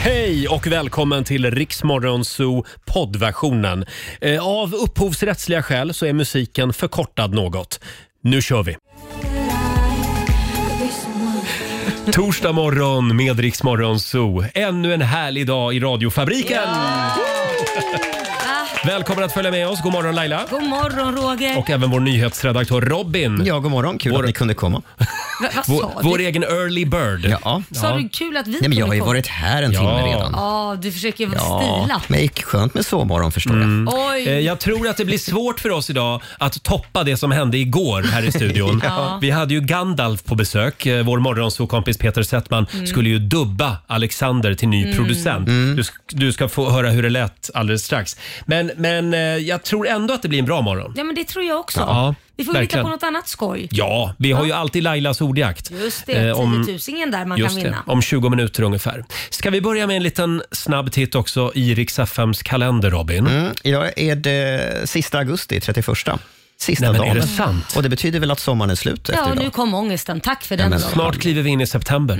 Hej och välkommen till Riksmorgon Zoo poddversionen. Eh, Av upphovsrättsliga skäl så är musiken förkortad något. Nu kör vi! Torsdag morgon med Riksmorgon Zoo. Ännu en härlig dag i radiofabriken! Välkommen att följa med oss. God morgon Laila! Ah, God morgon Roger! Och även vår nyhetsredaktör Robin. Ja, god morgon. Kul Vår- att ni kunde komma. Va, vad Vår, sa vår du? egen early bird. Ja. Sa du kul att vi Nej, men jag har ju kunde varit här en Ja. timme redan. Ja, du försöker vara stila. men det gick skönt med sovmorgon förstår jag. Oj! Eh, Jag tror att det blir svårt för oss idag att toppa det som hände igår här i studion. Ja. Vi hade ju Gandalf på besök. Eh, Vår morgonsåkompis Peter Settman Mm. skulle ju dubba Alexander till ny producent. Mm. Du, sk- du ska få höra hur det lät alldeles strax. Men, men eh, jag tror ändå att det blir en bra morgon. Ja, men det tror jag också. Ja, vi får ju hitta verkligen. på något annat skoj. Ja, vi har ju alltid Lailas ordjakt. Just det, Eh, om- 10 000 där man kan Just vinna. det, om 20 minuter ungefär. Ska vi börja med en liten snabb titt också i Rix FMs kalender, Robin? Mm, idag är det eh, sista augusti, 31. Sista Nej, men dagen. är det sant? Och det betyder väl att sommaren är slut efter Ja, idag. nu kom ångesten. Tack för den. men då. Mm. Snart kliver vi in i september.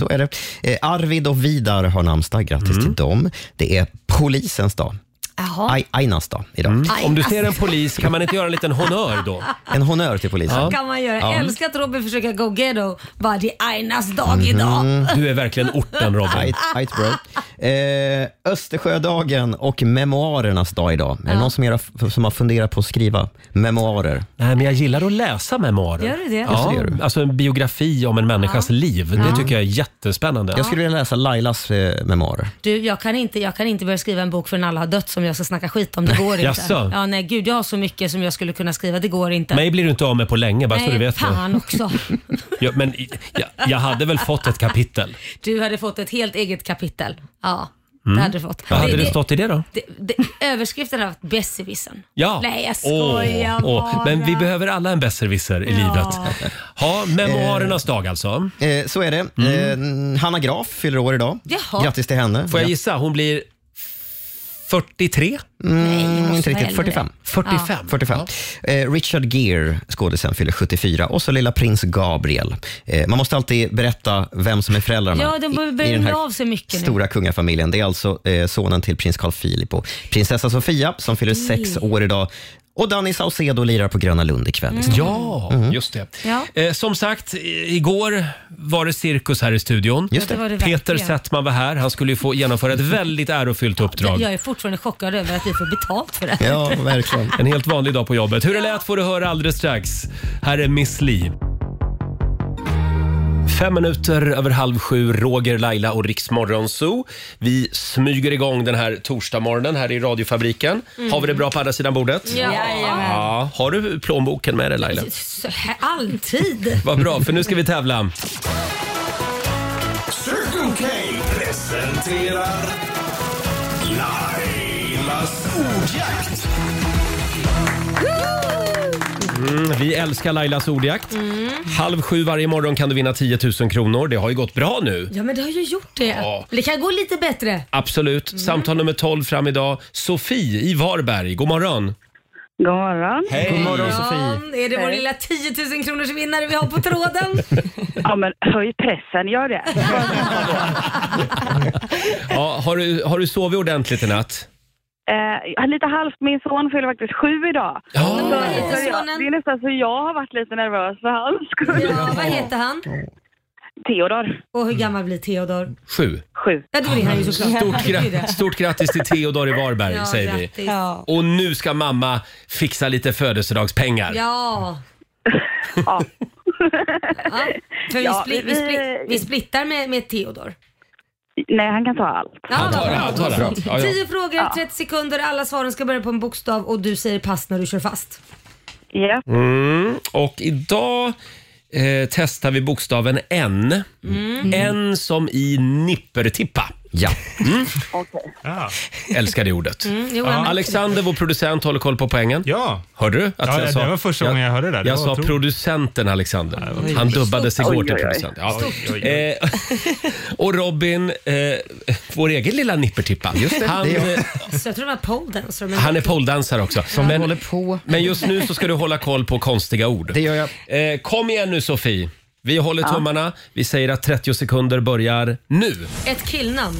Så är det. Eh, Arvid och Vidar har namnsdag, grattis Mm. till dem. Det är polisens dag, Jaha. Aj, Ainas dag idag. Aj, Mm. Om du ser alltså, en polis, kan man inte göra en liten honör då? En honnör till polisen. kan man göra. Jag älskar att Robin försöker go ghetto. Bara det är Ainas dag Mhm. idag. Du är verkligen orten Robin. Ajt, ajt bro. Eh, Östersjödagen och memoarernas dag idag. Är det någon som, gör, som har funderat på att skriva memoarer? Nej, men jag gillar att läsa memoarer. Gör du det? Ja, Just det, gör du. alltså en biografi om en människas liv. Det tycker jag är jättespännande. Jag skulle vilja läsa Lailas eh, memoarer. Du, jag kan, inte, jag kan inte börja skriva en bok förrän alla har dött som jag ska snacka skit om. Det går inte. Jaså? ja, nej, gud, jag har så mycket som jag skulle kunna skriva. Det går inte. Mig blir du inte av med på länge, bara så du nej, vet det. fan också. Ja, men i- jag, jag hade väl fått ett kapitel. Du hade fått ett helt eget kapitel. Ja, det hade du fått. Mm. Vad hade det stått i det då? det, det, överskriften har varit besserwissern. Ja. Nej, jag skojar Åh, åh. bara. Men vi behöver alla en besserwisser i livet. Ja, memoarernas dag alltså. Mm. Eh, så är det. Eh, Hanna Graf fyller år idag. Jaha. Grattis till henne. Får jag gissa? Hon blir 43? Nej, måste Mm, inte vara riktigt. äldre. 45. 45? 45. Eh, Richard Gere, skådisen, fyller 74 och så lilla prins Gabriel. Eh, man måste alltid berätta vem som är föräldrarna Ja, de börjar i, i den här börja av sig mycket nu. stora kungafamiljen. Det är alltså eh, sonen till prins Carl Philip och prinsessa Sofia som fyller sex år idag. Och Danny Saucedo lirar på Gröna Lund ikväll. Mm. Mm. Ja, just det. Ja. Eh, som sagt, i- igår var det cirkus här i studion. Just Det var det Peter verkligen. Settman var här. Han skulle ju få genomföra ett väldigt ärofyllt uppdrag. Jag är fortfarande chockad över att vi får betalt för det. Ja, verkligen. En helt vanlig dag på jobbet. Hur det lät får du höra alldeles strax. Här är Miss Li. Fem minuter över halv sju, Roger, Laila och Riksmorgon Zoo. Vi smyger igång den här torsdagsmorgonen här i radiofabriken. Har vi det bra på andra sidan bordet? Jajamän. Ja. Har du plånboken med dig Laila? Så här- Alltid. Vad bra, för nu ska vi tävla. Circle K presenterar Lailas ordjakt. Mm, Vi älskar Lailas ordjakt. Halv sju varje morgon kan du vinna 10 000 kronor. Det har ju gått bra nu. Ja, men det har ju gjort det. Ja. Det kan gå lite bättre. Absolut. Mm. Samtal nummer 12 fram idag. Sofie i Varberg, god morgon. God morgon. Hej. God morgon. Ja, är det vår lilla 10 000 kronors vinnare vi har på tråden? Ja, men höj pressen, gör det. Ja, har, du, har du sovit ordentligt i natt? Eh, lite halvt, min son fyller faktiskt sju idag. Ja. Vad heter Så jag, det är sonen? nästan så jag har varit lite nervös för hans skull. Ja, vad heter han? Theodor, Och hur gammal blir Theodor? Sju. sju. Ja, då blir han ju såklart. Stort, gra- stort grattis till Theodor i Varberg, Ja, säger vi. grattis. Och nu ska mamma fixa lite födelsedagspengar. Ja. Ja. ja. För vi, Ja, spli- vi, vi- spli- vi splittar med, med Theodor. Nej, han kan ta allt. Ja, vad tar det, bra. han tar det. Bra. Ja, ja. Tio frågor, 30 sekunder. Alla svaren ska börja på en bokstav och du säger pass när du kör fast. Ja. Mm. Och idag eh, testar vi bokstaven N. Mm. N som i nippertippa. Mm. Ja. Okej. Älskar det ordet. Mm. Mm, jo, jag Ja. märker Alexander, vår producent, håller koll på poängen. Ja. Hörde du? Att Ja, det- det var första gången jag hörde det. Det Jag var sa otroligt. producenten Alexander. Han dubbades igår Oj, till oj, oj. producent. Ja. Oj, oj, oj. Eh, och Robin, eh, vår egen lilla nippertippa. Just det, han, det är jag. eh, Så jag tror det var poledancer. men- han är poledansare också. Men, på. men just nu så ska du hålla koll på konstiga ord. Det gör jag. Eh, kom igen nu Sofie. Vi håller tummarna. Vi säger att 30 sekunder börjar nu. Ett killnamn.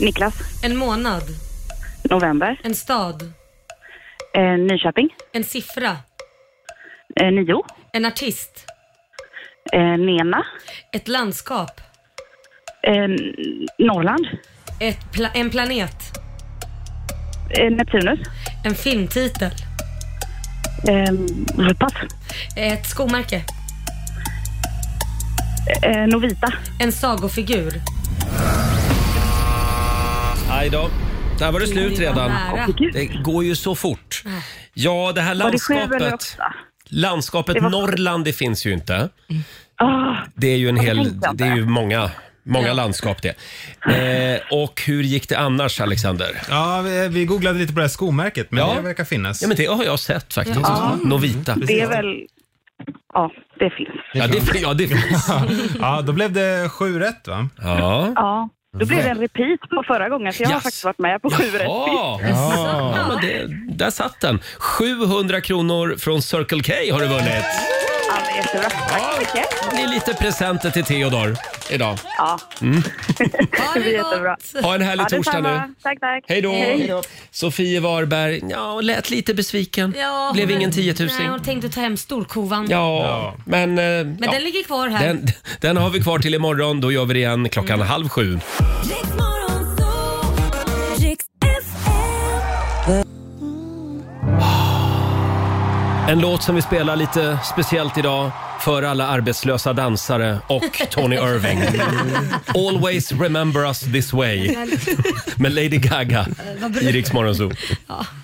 Niklas. En månad. November. En stad. Eh, Nyköping. En siffra. Eh, nio. En artist. Eh, Nena. Ett landskap. Eh, Norrland. Ett pla- en planet. Eh, Neptunus. En filmtitel. Eh, pass. Ett skomärke. Eh, Novita. En sagofigur. Aj då. Där var det slut Det var redan. nära. Det går ju så fort. Ja, det här Var det sju eller landskapet. åtta? Landskapet var- Norrland, det finns ju inte. Ah, Det är ju en hel, tänkte jag det är ju många, många Ja. landskap det. Eh, och hur gick det annars, Alexander? Ja, vi- vi googlade lite på det här skomärket, men Ja. det verkar finnas. Ja, men det har jag sett faktiskt. Novita. det är väl... Ja, det finns. Ja, det, ja, det finns. Ja, då blev det sju rätt va? Ja. Ja. Då blev det en repeat på förra gången, för jag har Yes. faktiskt varit med på sju rätt. Jaha. Ja, men det, där satt den. 700 kronor från Circle K har du vunnit. Ja, men jättebra. Tack så mycket. Det blir lite presenter till Theodor idag. Mm. Ja, Ha det blir det jättebra. gott! Ha en härlig Ja, torsdag detsamma. nu. Tack, tack. Hej då! Sofie Varberg, ja, lät lite besviken. Ja, Blev men- ingen 10 000. Nej, hon tänkte ta hem storkovan. Ja, men... eh, Mm. Men ja. den ligger kvar här. Mm. Den, den har vi kvar till imorgon. Då gör vi det igen klockan halv sju. En låt som vi spelar lite speciellt idag för alla arbetslösa dansare och Tony Irving. Always remember us this way med Lady Gaga i Rix Morgon Zoo.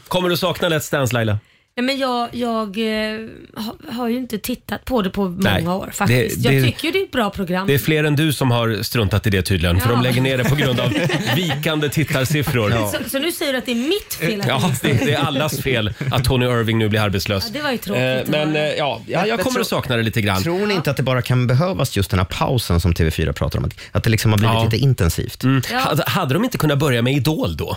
Kommer du sakna Let's Dance Laila? Nej, men jag, jag eh, har, har ju inte tittat på det på många Nej, år faktiskt. det- jag det- tycker det är ett bra program. Det är fler än du som har struntat i det tydligen för Ja. de lägger ner det på grund av vikande tittarsiffror. Så, så nu säger du att det är mitt fel att Ja, det det, det är allas fel att Tony Irving nu blir arbetslös. Ja, det var ju tråkigt att Eh, Men eh, höra. ja, ja, jag kommer att sakna det lite grann. Tror ni inte att det bara kan behövas just den här pausen som TV4 pratar om? Att- Att det liksom har blivit Ja. lite intensivt? Ja. Mm. Hade, hade de inte kunnat börja med Idol då?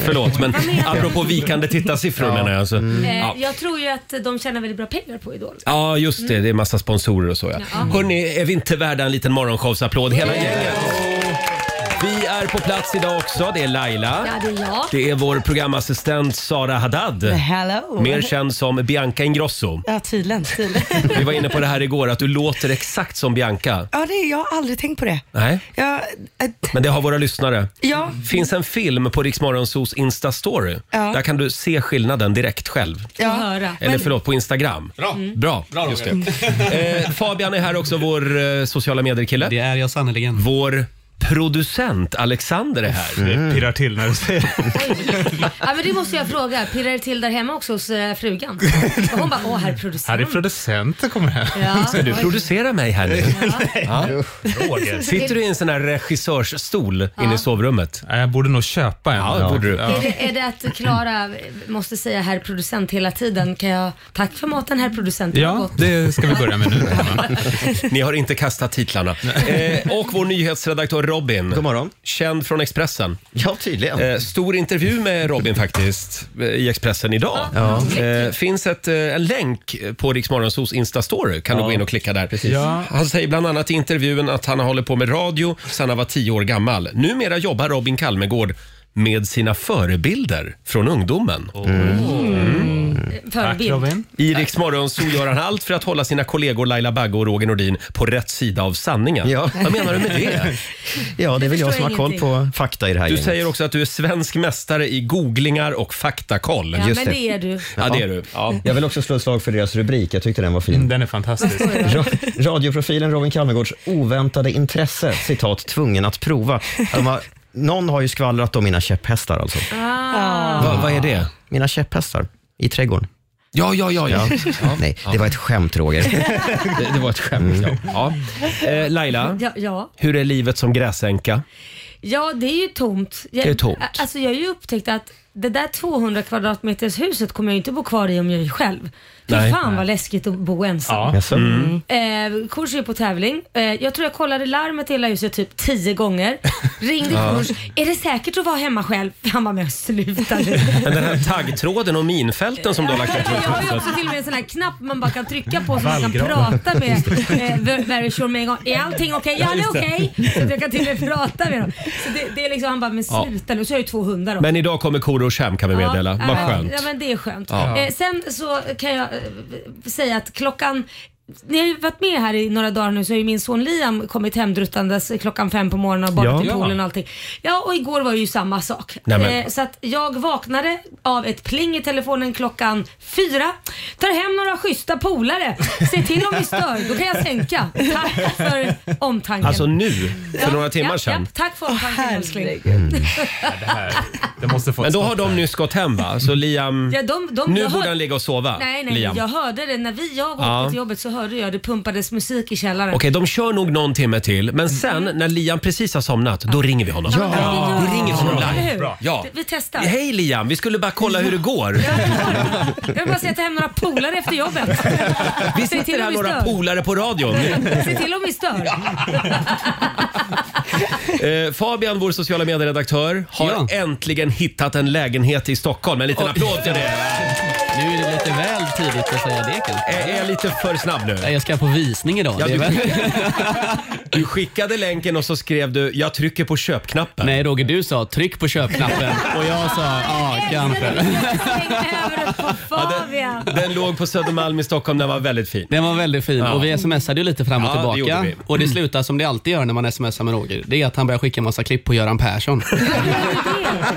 Förlåt, men apropå vikande tittarsiffror menar jag. Så. Mm. Eh, Ja. Jag tror ju att de tjänar väldigt bra pengar på Idol. ja, just det. Det är massa sponsorer och så. Ja. Ja. Hörni, är vi inte värda en liten morgonshowsapplåd hela gänget? Vi är på plats idag också. Det är Laila. Ja, det är jag. Det är vår programassistent Sara Haddad. Hello! Mer känd som Bianca Ingrosso. Ja, tydligen. tydligen. Vi var inne på det här igår, att du låter exakt som Bianca. ja, det, jag har aldrig tänkt på det. Nej, Jag, äh, men det har våra lyssnare. ja, finns en film på Riksmorgonsos Insta-story. Ja. Där kan du se skillnaden direkt själv. ja. höra. Eller förlåt, på Instagram. Bra. Mm. Mm. Bra, just det. Eh, Fabian är här också, vår eh, sociala medier-kille. Det är jag sannerligen. Vår producent Alexander är här. Det pirrar till när du säger det. Ja, men det måste jag fråga. Pirrar det till där hemma också hos eh, frugan? Och hon bara, åh, här är producent. Här är producenten kommer här. ja. Ska du producera mig här nu? Ja. Roger. Sitter du i en sån här regissörsstol inne i sovrummet? Nej, Jag borde nog köpa en. Ja, det borde du. Är det, är det att Klara måste säga herr producent hela tiden? Kan jag, tack för maten herr producent, det var Ja, gott. det ska vi börja med nu. Ni har inte kastat titlarna. Eh, och vår nyhetsredaktör Robin. God morgon. Känd från Expressen. Ja, tydligen. Eh, stor intervju med Robin faktiskt eh, i Expressen idag. Eh, finns ett, eh, en länk på Riksmorgonsos Insta-story. Kan du gå in och klicka där. Ja. Han säger bland annat i intervjun att han har hållit på med radio sedan han var tio år gammal. Numera jobbar Robin Kalmegård med sina förebilder från ungdomen. Mm. Tack Förebild. Robin. I Riksmorgonso gör han allt för att hålla sina kollegor Laila Bagge och Roger Nordin på rätt sida av sanningen. Ja. Vad menar du med det? ja, det är väl förstår jag som har koll ingenting. på fakta i det här Du gänget. säger också att du är svensk mästare i googlingar och faktakoll. Ja, Just men det. det är du. Ja, det är du. Mm, Ja. Jag vill också slå ett slag för deras rubrik. Jag tyckte den var fin. Den är fantastisk. Ra- Radioprofilen Robin Kalmegårds oväntade intresse, citat, tvungen att prova. De har, någon har ju skvallrat om mina käpphästar alltså. Ah. Va, vad är det? Mina käpphästar i trädgården. Ja, ja, ja. ja. Nej, det var ett skämt Roger. Mm. Det, det var ett skämt. Ja. Ja. Eh, Laila, Ja, ja. hur är livet som gräsänka? ja, det är ju tomt. Jag, Det är tomt. Alltså jag har ju upptäckt att det där 200 kvadratmeters huset kommer jag ju inte bo kvar i om jag är själv. Fy Nej. Mm. fan vad läskigt att bo ensam. Ja. Mm. Jaså? Eh, Kurs är på tävling. Eh, jag tror jag kollade larmet i hela huset typ tio gånger. Ringde Kurs. Är det säkert att vara hemma själv? Han bara, men sluta nu. Men den här taggtråden och minfälten som du har lagt ut. Jag har ju också till och med en sån här knapp man bara kan trycka på så man kan Vallgraven. prata med eh, Ver- Verisure med en gång. Är allting okej? Ja, det är okej. Så att jag kan till och med prata med dem. Så det, det är liksom, han bara, men Ja. sluta nu. Så har jag ju två hundar också. Men idag kommer Korosh hem kan vi meddela. Ja, Vad ja, skönt. Ja, men det är skönt. Ja. Eh, sen så kan jag eh, säga att klockan ni har ju varit med här i några dagar nu så har ju min son Liam kommit hemdruttandes klockan fem på morgonen och badat Ja. i poolen och allting. Ja och igår var det ju samma sak. Nej, men- Eh, så att jag vaknade av ett pling i telefonen klockan fyra. Tar hem några schyssta polare. Se till om ni stör, då kan jag sänka. Tack för omtanken. Alltså nu, för några timmar ja, sedan. Ja, tack för omtanken älskling. Det måste få Men ett då har stopp de där. nyss gått hem va? Så Liam, Ja, de, de, nu jag borde hör- han ligga och sova. Nej, nej, Liam. jag hörde det. När vi, jag åkte Ja. till jobbet så hörde jag det pumpades musik i källaren. Okej, de kör nog någon timme till, men sen när Liam precis har somnat, då ringer vi honom. Mm. men det gör Vi ringer honom Eller live. hur? Ja. Vi- Vi testar. Hej Liam, vi skulle bara kolla hur det går. Jag vill bara säga att ta hem några polare efter jobbet. Vi Se till sitter här om vi några stör. polare på radion. Se till om vi stör. Eh, Fabian, vår sociala medieredaktör, har Ja. äntligen hittat en lägenhet i Stockholm. En liten applåd till det. Nu är det lite väl tidigt att säga det kanske. Är är jag lite för snabb nu? Nej, Jag ska på visning idag. Ja, det är du- väl... Du skickade länken och så skrev du “Jag trycker på köpknappen”. Nej Roger, du sa tryck på köpknappen och jag sa ja, kanske. Släng över det på Fabian. Den låg på Södermalm i Stockholm, den var väldigt fin. Den var väldigt fin och vi smsade ju lite fram och Ja, det gjorde tillbaka. vi. och det slutar som det alltid gör när man smsar med Roger. Det är att han börjar skicka massa klipp på Göran Persson.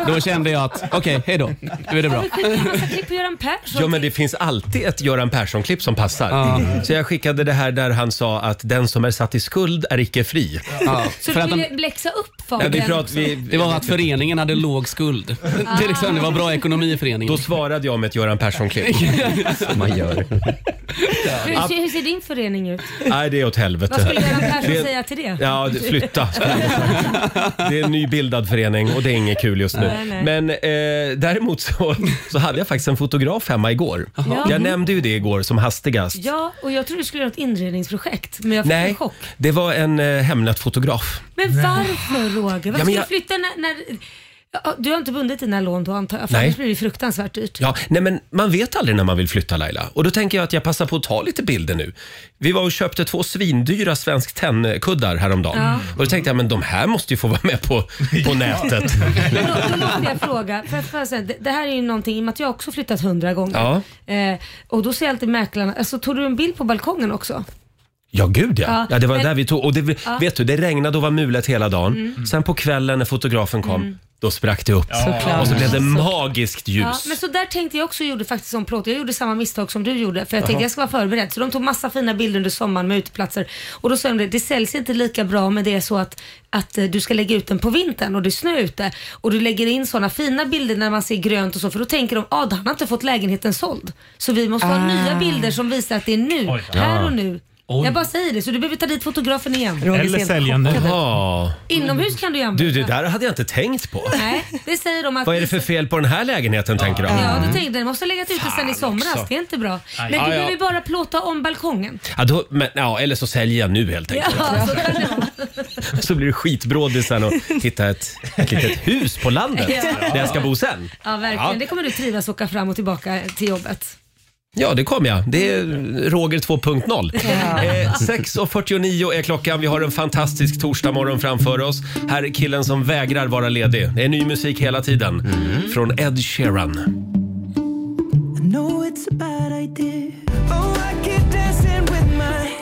Då kände jag att okej, hej då. Nu är det bra. Vi skickade en massa klipp på Göran Persson. Ja men det finns alltid ett Göran Persson-klipp som passar. Så jag skickade det här där han sa att den som är satt i skuld är icke fri. Ja, Så för du att de, ville läxa upp Ja, Fabian? vi prat, vi, det var att föreningen hade låg skuld. Ah. Till exempel, det var bra ekonomi i föreningen. Då svarade jag med ett Göran Persson-klipp. Som man gör. hur, ser- hur ser din förening ut? Nej det är åt Vad skulle helvete. Göran Persson Det- säga till det? Ja, det- flytta. Det är en nybildad förening och det är inget kul just nu. Nej, nej. Men eh, däremot så, så hade jag faktiskt en fotograf hemma igår. Jag nämnde ju det igår som hastigast. Ja, och jag trodde du skulle göra ett inredningsprojekt, men jag fick en Nej, chock. det var en eh, Hemnet-fotograf. Men varför Roger? Varför men ska jag- du flytta när, när... Ja, Du har inte bundit dina lån då antar jag? För Nej. Annars blir det fruktansvärt dyrt. Ja, nej men man vet aldrig när man vill flytta Laila. Och då tänker jag att jag passar på att ta lite bilder nu. Vi var och köpte två svindyra Svensk Tenn-kuddar häromdagen. Och då tänkte jag, men de här måste ju få vara med på, på nätet. Men då, då måste jag fråga. För att, för att säga, det, det här är ju någonting, i och med att jag också flyttat hundra gånger. Eh, och då säger alltid mäklarna, alltså, tog du en bild på balkongen också? Ja, gud ja. Ja, ja, det var men- där vi tog. Och det, vet du, det regnade och var mulet hela dagen. Sen på kvällen när fotografen kom, då sprack det upp. Såklart. Och så blev det magiskt ljus. Ja, men så där tänkte jag också gjorde faktiskt som plåt. Jag gjorde samma misstag som du gjorde för jag tänkte jag ska vara förberedd. Så de tog massa fina bilder under sommaren med uteplatser och då sa de det, det säljs inte lika bra men det är så att, att eh, du ska lägga ut den på vintern och det är snö ute och du lägger in sådana fina bilder när man ser grönt och så för då tänker de att ah, han har inte fått lägenheten såld. Så vi måste ha Ah. nya bilder som visar att det är nu, här och nu. Jag bara säger det så du behöver ta dit fotografen igen. Roger Eller ser helt säljande. chockad ut. Ja. Inomhus kan du ju använda. Du, det där hade jag inte tänkt på. Nej, det säger de att Vad är det för fel på den här lägenheten, tänker de. Ja, Mm. då tänkte jag, den måste ha legat ute sedan i somras. också. Det är inte bra. Men du Ja, ja. behöver ju bara plåta om balkongen. Ja, då, men, ja, eller så säljer jag nu helt enkelt. Ja, alltså, så kan det vara. Så blir det skitbrådis sen och hitta ett, ett litet hus på landet Ja. där jag ska bo sen. ja verkligen. Det kommer du trivas åka fram och tillbaka till jobbet. Ja, det kommer jag. Det är Roger 2.0. Eh, 6.49 är klockan. Vi har en fantastisk torsdagmorgon framför oss. Här är killen som vägrar vara ledig. Det är ny musik hela tiden. Från Ed Sheeran.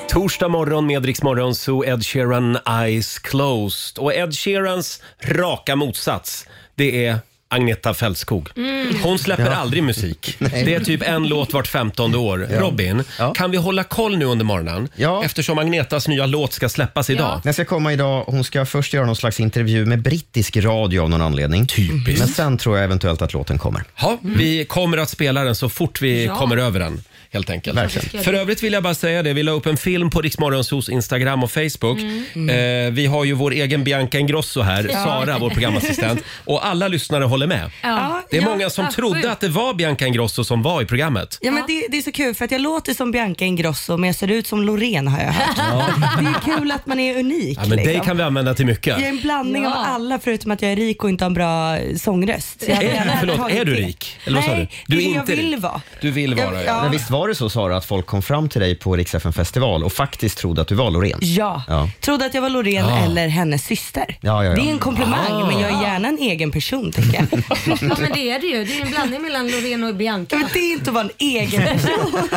Torsdag morgon med Rix Morgon, så Ed Sheeran Eyes Closed. Och Ed Sheerans raka motsats, det är Agneta Fältskog. Mm. Mm. Hon släpper aldrig musik. Det är typ en låt vart femtonde år. Robin, Ja. kan vi hålla koll nu under morgonen? Ja. Eftersom Agnetas nya låt ska släppas idag. Den ska komma idag. Hon ska först göra någon slags intervju med brittisk radio av någon anledning. Typiskt. Men sen tror jag eventuellt att låten kommer. Ja, vi kommer att spela den så fort vi Ja. kommer över den. Helt enkelt. Verkligen. För övrigt vill jag bara säga det, vi la upp en film på Riksmorgonsos Instagram och Facebook. Mm. Eh, vi har ju vår egen Bianca Ingrosso här, Sara, vår programassistent. Och alla lyssnare håller med. Ja, Det är Ja, många som avsky. trodde att det var Bianca Ingrosso som var i programmet. Ja, men det, det är så kul för att jag låter som Bianca Ingrosso men jag ser ut som Loreen har jag hört. Det är kul att man är unik. Ja, men dig liksom. kan vi använda till mycket. Jag är en blandning Ja. av alla förutom att jag är rik och inte har en bra eh, sångröst. Så jag hade Är, gärna förlåt, tagit är du det. rik? Eller vad sa du? Nej, Du det är det inte jag vill rik. vara. Du vill Jag- vara, ja. ja. Men visst var det så Sara att folk kom fram till dig på Rix FM festival och faktiskt trodde att du var Loreen? Ja. Ja. trodde att jag var Loreen eller hennes syster. Ja, ja, ja. Det är en komplimang men jag är gärna en egen person tänker jag. Ja men det är det ju. Det är ju en blandning mellan Loreen och Bianca. Ja, men det är inte att vara en egen person.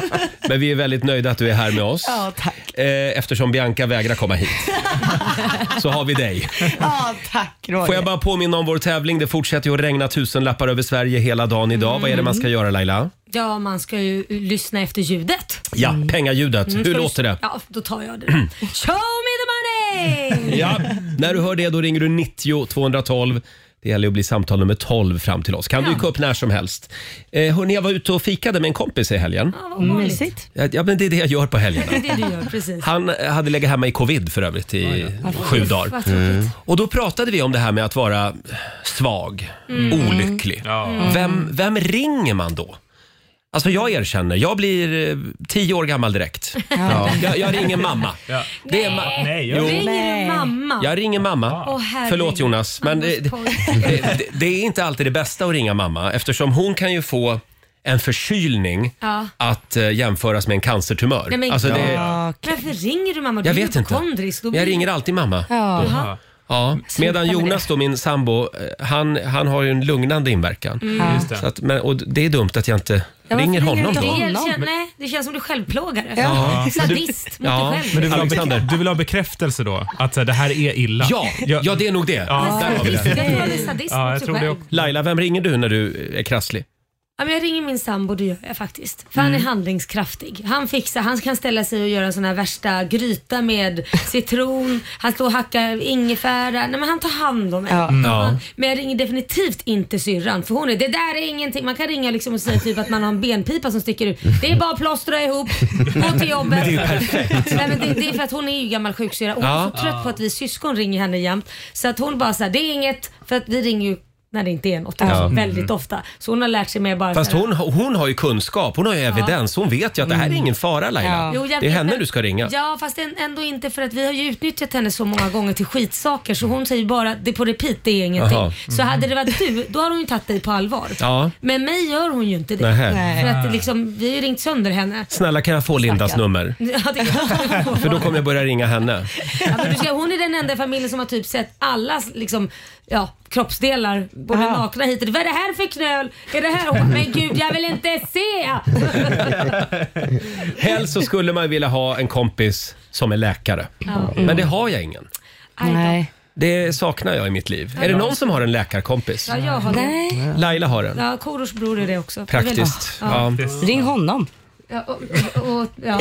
Men vi är väldigt nöjda att du är här med oss. Ja, tack. Eh, Eftersom Bianca vägrar komma hit. Så har vi dig. Ja, tack Roger. Får jag bara påminna om vår tävling. Det fortsätter ju att regna tusenlappar över Sverige hela dagen idag. Vad är det man Mm. ska göra Laila? Ja, man ska ju lyssna efter ljudet. Ja, pengaljudet. Hur Mm. Ska du- låter det? Ja, då tar jag det. då. Show me the money! Ja, när du hör det då ringer du 90 212. Det gäller att bli samtal nummer 12 fram till oss. Kan dyka upp när som helst. Eh, hörni, jag var ute och fikade med en kompis i helgen. Ja, vad vanligt. Mysigt. Ja, men det är det jag gör på helgerna. Det är det du gör, precis. Han eh, hade legat hemma i covid för övrigt i sju dagar. Mm. Vad tråkigt. Och då pratade vi om det här med att vara svag, Mm. olycklig. Vem, vem ringer man då? Alltså jag erkänner, jag blir eh, tio år gammal direkt. Ja. Jag, jag ringer mamma. Ja. Det är ma- Nej, jag... Jo, Ringer du Nej. mamma? jag ringer mamma. Åh, herregud. Förlåt Jonas, men det, Anders det, Borg. det, det är inte alltid det bästa att ringa mamma eftersom hon kan ju få en förkylning Ja. att eh, jämföras med en cancertumör. Nej, men alltså, gud. det, Ja, Men Varför ringer du mamma? Du jag är vet inte. hypokondrisk. Då blir- Jag ringer alltid mamma. Ja. Jaha. Ja. Sluta Medan med Jonas, då, min sambo, eh, han, han har ju en lugnande inverkan. Mm. Just Så det. att, men, och det är dumt att jag inte varför ringer ringer du honom inte då. honom? Det, kän, nej, det känns som du är självplågare. Ja. Sadist mot Ja, dig men själv. Du vill, ha Alexander. be- du vill ha bekräftelse då? Att så här, det här är illa? Ja, Jag- ja, det är nog det. Ja. Där har vi det. Jag tror man är sadist Ja, mot jag sig tror det själv. också. Laila, vem ringer du när du är krasslig? Ja, men jag ringer min sambo, det gör jag faktiskt. För Mm. han är handlingskraftig. Han fixar, han kan ställa sig och göra en sån här värsta gryta med citron, han står och hackar ingefära. Nej men han tar hand om mig. Ja. Ja. Men jag ringer definitivt inte syrran för hon är, det där är ingenting. Man kan ringa liksom och säga typ att man har en benpipa som sticker ut. Det är bara att plåstra ihop, gå till jobbet. Men det är ju perfekt. Nej, men det, det är för att hon är ju gammal sjuksyrra och hon är Ja. så trött på att vi syskon ringer henne jämt. Så att hon bara såhär, det är inget, för att vi ringer ju när det inte är något, alltså, väldigt ofta. Så hon har lärt sig mer bara Fast så här- hon, har- hon har ju kunskap, hon har ju evidens. Hon vet ju att det här är ingen fara Laila. Mm. Ja. Mm. Jo, jag Det är vet, henne men- du ska ringa. Ja, fast en- ändå inte för att vi har ju utnyttjat henne så många gånger till skitsaker så hon säger bara det är på repeat, det är ingenting. Jaha. Mm. Så hade det varit du, då har hon ju tagit dig på allvar. Ja. Men mig gör hon ju inte det. Nähä. För Nej. att det liksom, vi har ju ringt sönder henne. Snälla kan jag få Lindas nummer? Ja, det För då kommer jag börja ringa henne. ja, men du ska, hon är den enda i familjen som har typ sett allas liksom, ja, kroppsdelar, både Ja. nakna hit och dit. Vad är det här för knöl? Är det här hår? Men gud, jag vill inte se! Helst så skulle man vilja ha en kompis som är läkare. Men det har jag ingen. Aj då. Nej. Det saknar jag i mitt liv. Är det någon som har en läkarkompis? Ja, jag har det. Nej. Laila har en. Ja, Korosh bror är det också. Det är väl- Praktiskt. Ja, Ring honom. Ja, och, och, ja.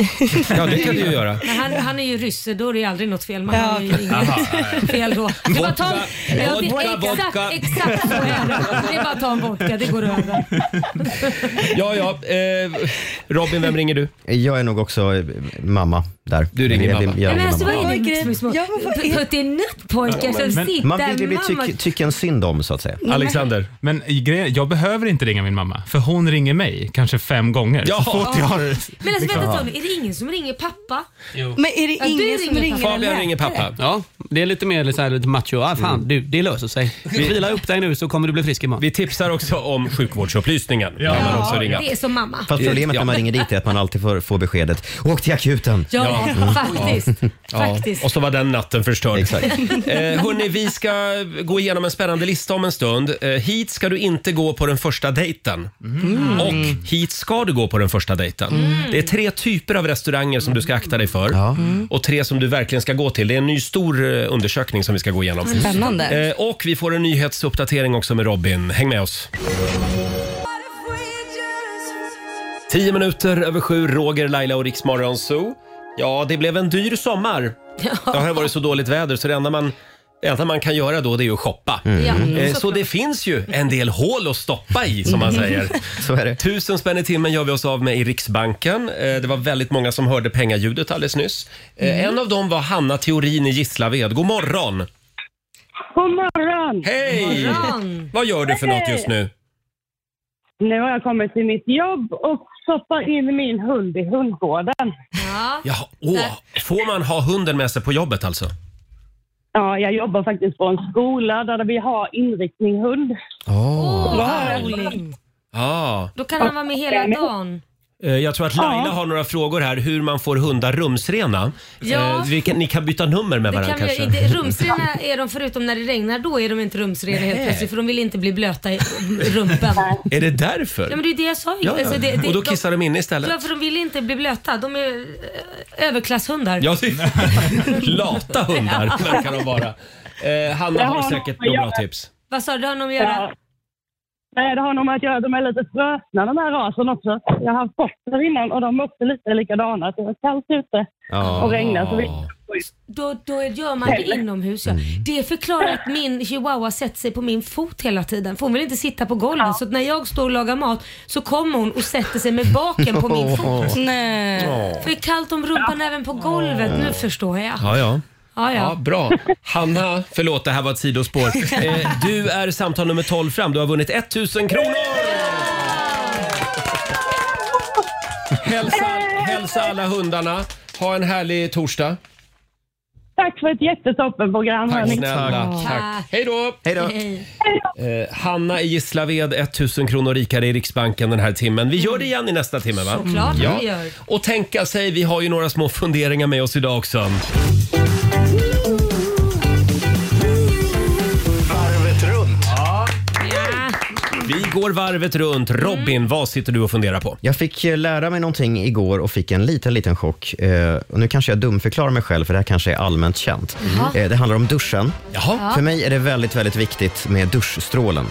ja det kan du ju göra. Men han, han är ju rysse, då är det ju aldrig något fel. Man har ju inget fel då. Det är bara att ta en, ja, det, vodka, exakt, vodka. exakt så är det. Det är bara att ta en vodka, det går över. Ja, ja. Eh, Mm. Robin, vem ringer du? Jag är nog också eh, mamma där. Du ringer jag, mamma. Jag, Nej, men ringer alltså, vad är mamma. det Oj, med gud. små- Ja, men vad är- Puttinuttpojkar som sitter Man vill ju bli mamma- tyck, tycken synd om så att säga. Alexander? Men i grejen, jag behöver inte ringa min mamma, för hon ringer mig kanske fem gånger. Ja. Så fort jag har... Men alltså vänta ett tag nu, är det ingen som ringer pappa? Men är det Ja, ingen du som ringer ringer en Fabian läkare? ringer pappa. Mm. Ja, det är lite mer så här, lite macho. Ah, fan, du, det löser sig. Vila upp dig nu så kommer du bli frisk imorgon. Vi tipsar också om sjukvårdsupplysningen. Ja. Kan man också ringa. Det är som mamma. Fast problemet när man ringer dit är att man alltid får, får beskedet “Åk till akuten”. Ja, faktiskt. Ja, faktiskt. och så var den natten förstörd. Exakt. Eh, hörni, vi ska gå igenom en spännande lista om en stund. Eh, hit ska du inte gå på den första dejten. Och hit ska du gå på den första dejten. Det är tre typer av restauranger som du ska akta dig för. Och tre som du verkligen ska gå till. Det är en ny stor eh, undersökning som vi ska gå igenom. Spännande. Eh, och vi får en nyhetsuppdatering också med Robin. Häng med oss. Tio minuter över sju, Roger, Laila och Riksmorgon Zoo. Ja, det blev en dyr sommar. Det har varit så dåligt väder så det enda man, det enda man kan göra då det är ju att shoppa. Ja, Eh, Så det finns ju en del hål att stoppa i som man säger. Så är det. Tusen spänn i timmen gör vi oss av med i Riksbanken. Eh, Det var väldigt många som hörde pengaljudet alldeles nyss. Eh, En av dem var Hanna Theorin i Gislaved. God morgon! God morgon! Hej! morgon. Vad gör du för något just nu? Nu har jag kommit till mitt jobb och stoppar in min hund i hundgården. Ja. Jaha, åh. Får man ha hunden med sig på jobbet alltså? Ja, jag jobbar faktiskt på en skola där vi har inriktning hund. Åh, vad härligt. roligt. Ja. Då kan han vara med hela dagen. Eh, Jag tror att Laila har några frågor här hur man får hundar rumsrena. Ja. Eh, Vi kan, ni kan byta nummer med Det varandra kan vi, kanske. inte- rumsrena är de förutom när det regnar, då är de inte rumsrena helt plötsligt för de vill inte bli blöta i rumpen. Är det därför? Ja men det är det jag sa ju. Ja, ja. Alltså, det, det, och då kissar de inne de, istället. Ja för de vill inte bli blöta. De är eh, överklasshundar. Ja, det är lata hundar verkar de vara. Eh, Hanna Det har har säkert de att några bra göra. tips. Vad sa du? Det har de att göra? Ja. Nej, det har nog med att göra. De är lite frösna de här rasen också. Jag har haft potter innan och de är också lite likadana. Det är kallt ute och regnar så vi Då, då gör man det inomhus. Ja. Det förklarar att min chihuahua sätter sig på min fot hela tiden. För hon vill inte sitta på golvet. Så att när jag står och lagar mat så kommer hon och sätter sig med baken på min fot. Nej. För det är kallt om rumpan även på golvet. Nu förstår jag. Ja, ja. Ah, Ja, Ja, ja. bra. Hanna, förlåt det här var ett sidospår. Eh, du är samtal nummer 12 fram. Du har vunnit 1000 kronor! Hälsa, hälsa alla hundarna. Ha en härlig torsdag. Tack för ett jättetoppenprogram. Tack hörni. snälla. Tack. Hej då! Hej då. Hej. Eh, Hanna i Gislaved, 1000 kronor rikare i Riksbanken den här timmen. Vi gör det igen i nästa timme va? Såklart Ja. vi gör. Och tänka sig, vi har ju några små funderingar med oss idag också. Varvet runt. Vi går varvet runt. Robin, vad sitter du och funderar på? Jag fick eh, lära mig någonting igår och fick en liten, liten chock. Eh, och nu kanske jag dumförklarar mig själv, för det här kanske är allmänt känt. Eh, det handlar om duschen. Jaha. För mig är det väldigt, väldigt viktigt med duschstrålen.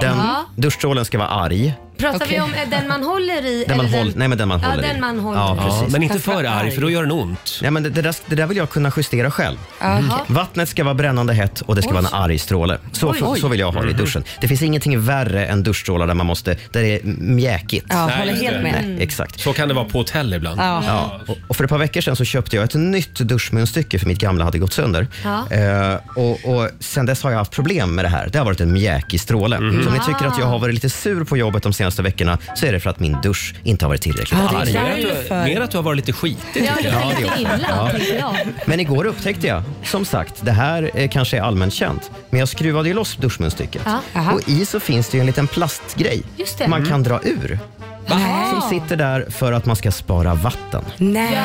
Den, Ja. Duschstrålen ska vara arg. Pratar vi Okej. om eh, den man håller i? Den man eller håller, nej, men den man ja, håller i. den man håller Ja, i. precis. Ja, men inte Den ska för vara arg arg. för då gör den ont. Nej, men det, det, där, det där vill jag kunna justera själv. Mm. Jaha. Vattnet ska vara brännande hett och det ska Oj. vara en arg stråle. Så, Oj. så vill jag ha det i Mhm. duschen. Det finns ingenting värre än duschstrålar där, man måste, där det är mjäkigt. Ja, Nej, håller just det. helt med. Mm. Nej, exakt. Så kan det vara på hotell ibland. Ja. Ja, och- och för ett par veckor sedan så köpte jag ett nytt duschmunstycke för mitt gamla hade gått sönder. Ja. Eh, och, och sen dess har jag haft problem med det här. Det har varit en mjäkig stråle. Så om ni tycker att jag har varit lite sur på jobbet de senaste veckorna så är det för att min dusch inte har varit tillräckligt Ja, det är arg. Arg. Mer, att du, därför. mer att du har varit lite skitig. Ja, tycker det jag. är lite illa tänkte jag. Men igår upptäckte jag, som sagt, det här eh, kanske är allmänt känt, men jag skruvade ju loss duschmunstycket. Ja, aha. och i så finns det ju en liten plastgrej Just det. Mm. man kan dra ur. Som Jaha. sitter där för att man ska spara vatten. Nej.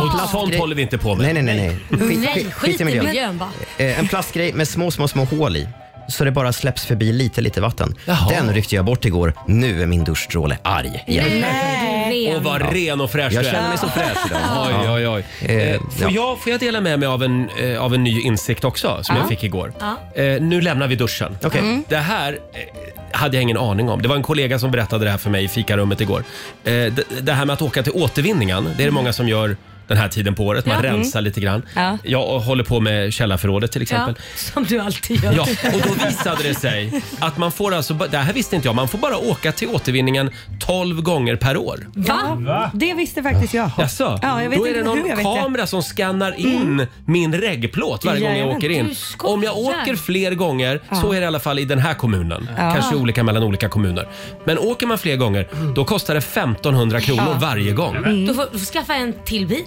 Och sånt håller vi inte på med. Nej, nej, nej. nej. Skit, Nej, skit i miljön va? Eh, En plastgrej med små, små, små hål i. Så det bara släpps förbi lite, lite vatten. Jaha. Den ryckte jag bort igår. Nu är min duschstråle arg igen. Ren. Och vad ren och fräsch Jag du är. känner mig så fräsch idag. Oj, oj, oj. Eh, Eh, får, jag, får jag dela med mig av en, eh, av en ny insikt också som jag fick igår? Eh, nu lämnar vi duschen. Okej. Mm. Det här eh, hade jag ingen aning om. Det var en kollega som berättade det här för mig i fikarummet igår. Eh, det, det här med att åka till återvinningen, det är det Mm. många som gör den här tiden på året. Man rensar lite grann. Ja. Jag håller på med källarförrådet till exempel. Mm. Ja, som du alltid gör. Ja, och då visade det sig att man får alltså, ba- det här visste inte jag, man får bara åka till återvinningen 12 gånger per år. Va? Det visste faktiskt jag. Jaså? Ja, jag vet då är inte det hur, jag någon vet det. kamera som skannar in min reggplåt varje gång jag Jajamän. åker in. Du skojar. Om jag åker fler gånger, så är det i alla fall i den här kommunen. Kanske olika mellan olika kommuner. Men åker man fler gånger, då kostar det 1500 kronor varje gång. Mm. Då får du får skaffa en till bil.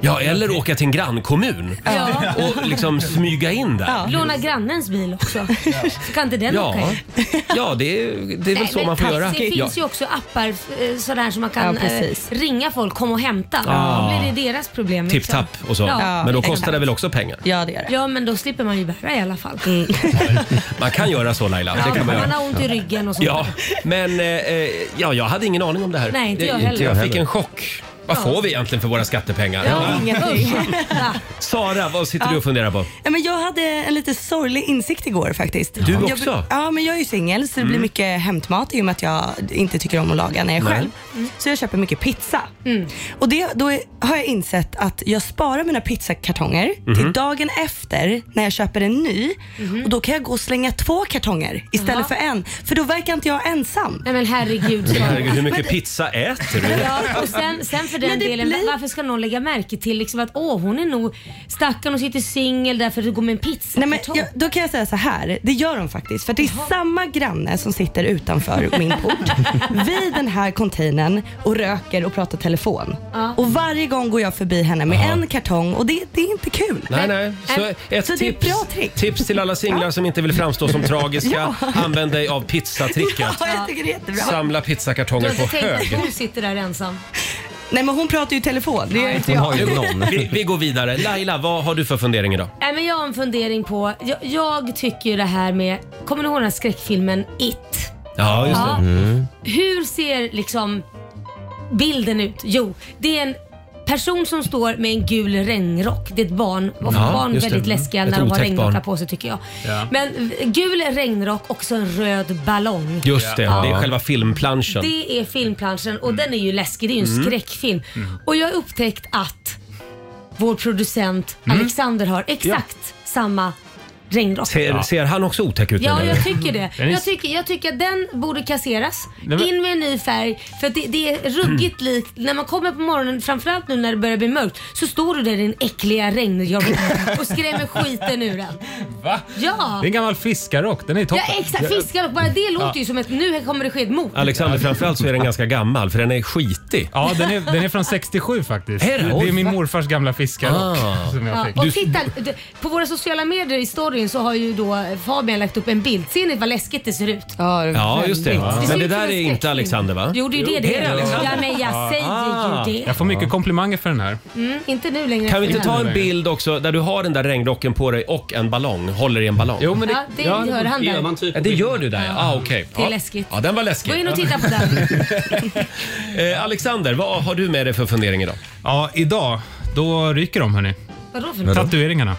Ja, eller åka till en grannkommun Ja. och liksom smyga in där. Ja. Låna grannens bil också. Så kan inte den Ja, åka in. det, är, det är väl Nej, så men man får taxi, göra. Det Ja. finns ju också appar eh, sådär som man kan Ja, precis. eh, ringa folk, kom och hämta. Då blir det deras problem. liksom. Tipp-tapp och så. Ja. Men då kostar det väl också pengar? Ja, det Mm. gör det. Ja men då slipper man ju bära i alla fall. Man kan göra så Laila. Det Ja, kan man man göra. har ont i ryggen och sånt. Ja, men eh, eh, ja, jag hade ingen aning om det här. Nej, inte jag Det- heller. jag jag fick en chock. Vad får vi egentligen för våra skattepengar? Ja, ingenting. Sara, vad sitter du och funderar på? Ja, men jag hade en lite sorglig insikt igår faktiskt. Du jag, också? Ja, men jag är ju singel så det blir mycket hämtmat i och med att jag inte tycker om att laga när jag är Nej. själv. Så jag köper mycket pizza. Och det, då är, har jag insett att jag sparar mina pizzakartonger till dagen efter när jag köper en ny. Och Då kan jag gå och slänga två kartonger istället för en. För då verkar inte jag ensam. Nej men herregud. Herregud, hur mycket pizza äter du? Ja, och sen, sen för för den Men det delen. blir- Varför ska någon lägga märke till liksom att åh, hon är nog stackarn och sitter singel därför du går med en pizza Nej, men jag, då kan jag säga så här, det gör de faktiskt. För det är samma granne som sitter utanför min port vid den här containern och röker och pratar telefon. Ja. Och varje gång går jag förbi henne med en kartong och det, det är inte kul. Nej, nej. Så Nej. ett Så det är ett tips, bra trick. tips till alla singlar som inte vill framstå som tragiska. Ja. Använd dig av pizzatricket. Ja, jag tycker det är jättebra. Samla Du pizzakartonger har på inte tänkt hög. att hon sitter där ensam. Nej men hon pratar ju i telefon. Det gör inte Hon jag. har ju någon. Vi, vi går vidare. Laila, vad har du för fundering idag? Nej, Äh, men jag har en fundering på, jag, jag tycker ju det här med, kommer ni ihåg den här skräckfilmen It? Ja, just Mm. Ja. Hur ser liksom bilden ut? Jo, det är en person som står med en gul regnrock. Det är ett barn. Och Ja, barn är just det. väldigt läskiga Ett när de har otäckt regnrockar barn. på sig tycker jag. Ja. Men gul regnrock och så en röd ballong. Just det, det är själva filmplanschen. Det är filmplanschen och den är ju läskig. Det är ju en Mm. skräckfilm. Och jag har upptäckt att vår producent Mm. Alexander har exakt samma regnrock. Ser, ser han också otäck ut? Ja, eller? jag tycker det. Den är- Jag tycker, jag tycker att den borde kasseras. men- Mm. In med en ny färg. För att det, det är ruggigt likt. När man kommer på morgonen, framförallt nu när det börjar bli mörkt, så står du där i din äckliga regnrock och skrämmer skiten ur den. Va? Ja! Det är en gammal fiskarrock. Den är toppen. Ja exakt, fiskarrock. Bara det låter ju som ett nu kommer det ske ett mord. Alexander, framförallt så är den ganska gammal för den är skitig. Ja, den är, den är från 67 faktiskt. Är det? det Oj, är min morfars gamla fiskarrock Ah. som jag Ja, fick. och titta, d- på våra sociala medier i storyn så har ju då Fabian lagt upp en bild. Ser ni vad läskigt det ser ut? Ja, just det. ser Men det ut som där en är inte skräckfilm. Alexander va? Jo, det är ju det det är det är. Alexander? Ja, men jag säger Ah. ju det. Jag får mycket komplimanger för den här. Mm, inte nu längre. Kan vi inte ta en bild också där du har den där regnrocken på dig och en ballong, håller i en ballong? Jo, men det, Ja, det gör han Det gör där. man typ Ja, Det gör du där ja, ah, okej. Det är Ja. läskigt. Ja, den var Gå in läskig. och titta på den. Eh, Alexander, vad har du med dig för fundering idag? Ja, idag, då ryker de hörni. Vadå för något? Mhm. Tatueringarna.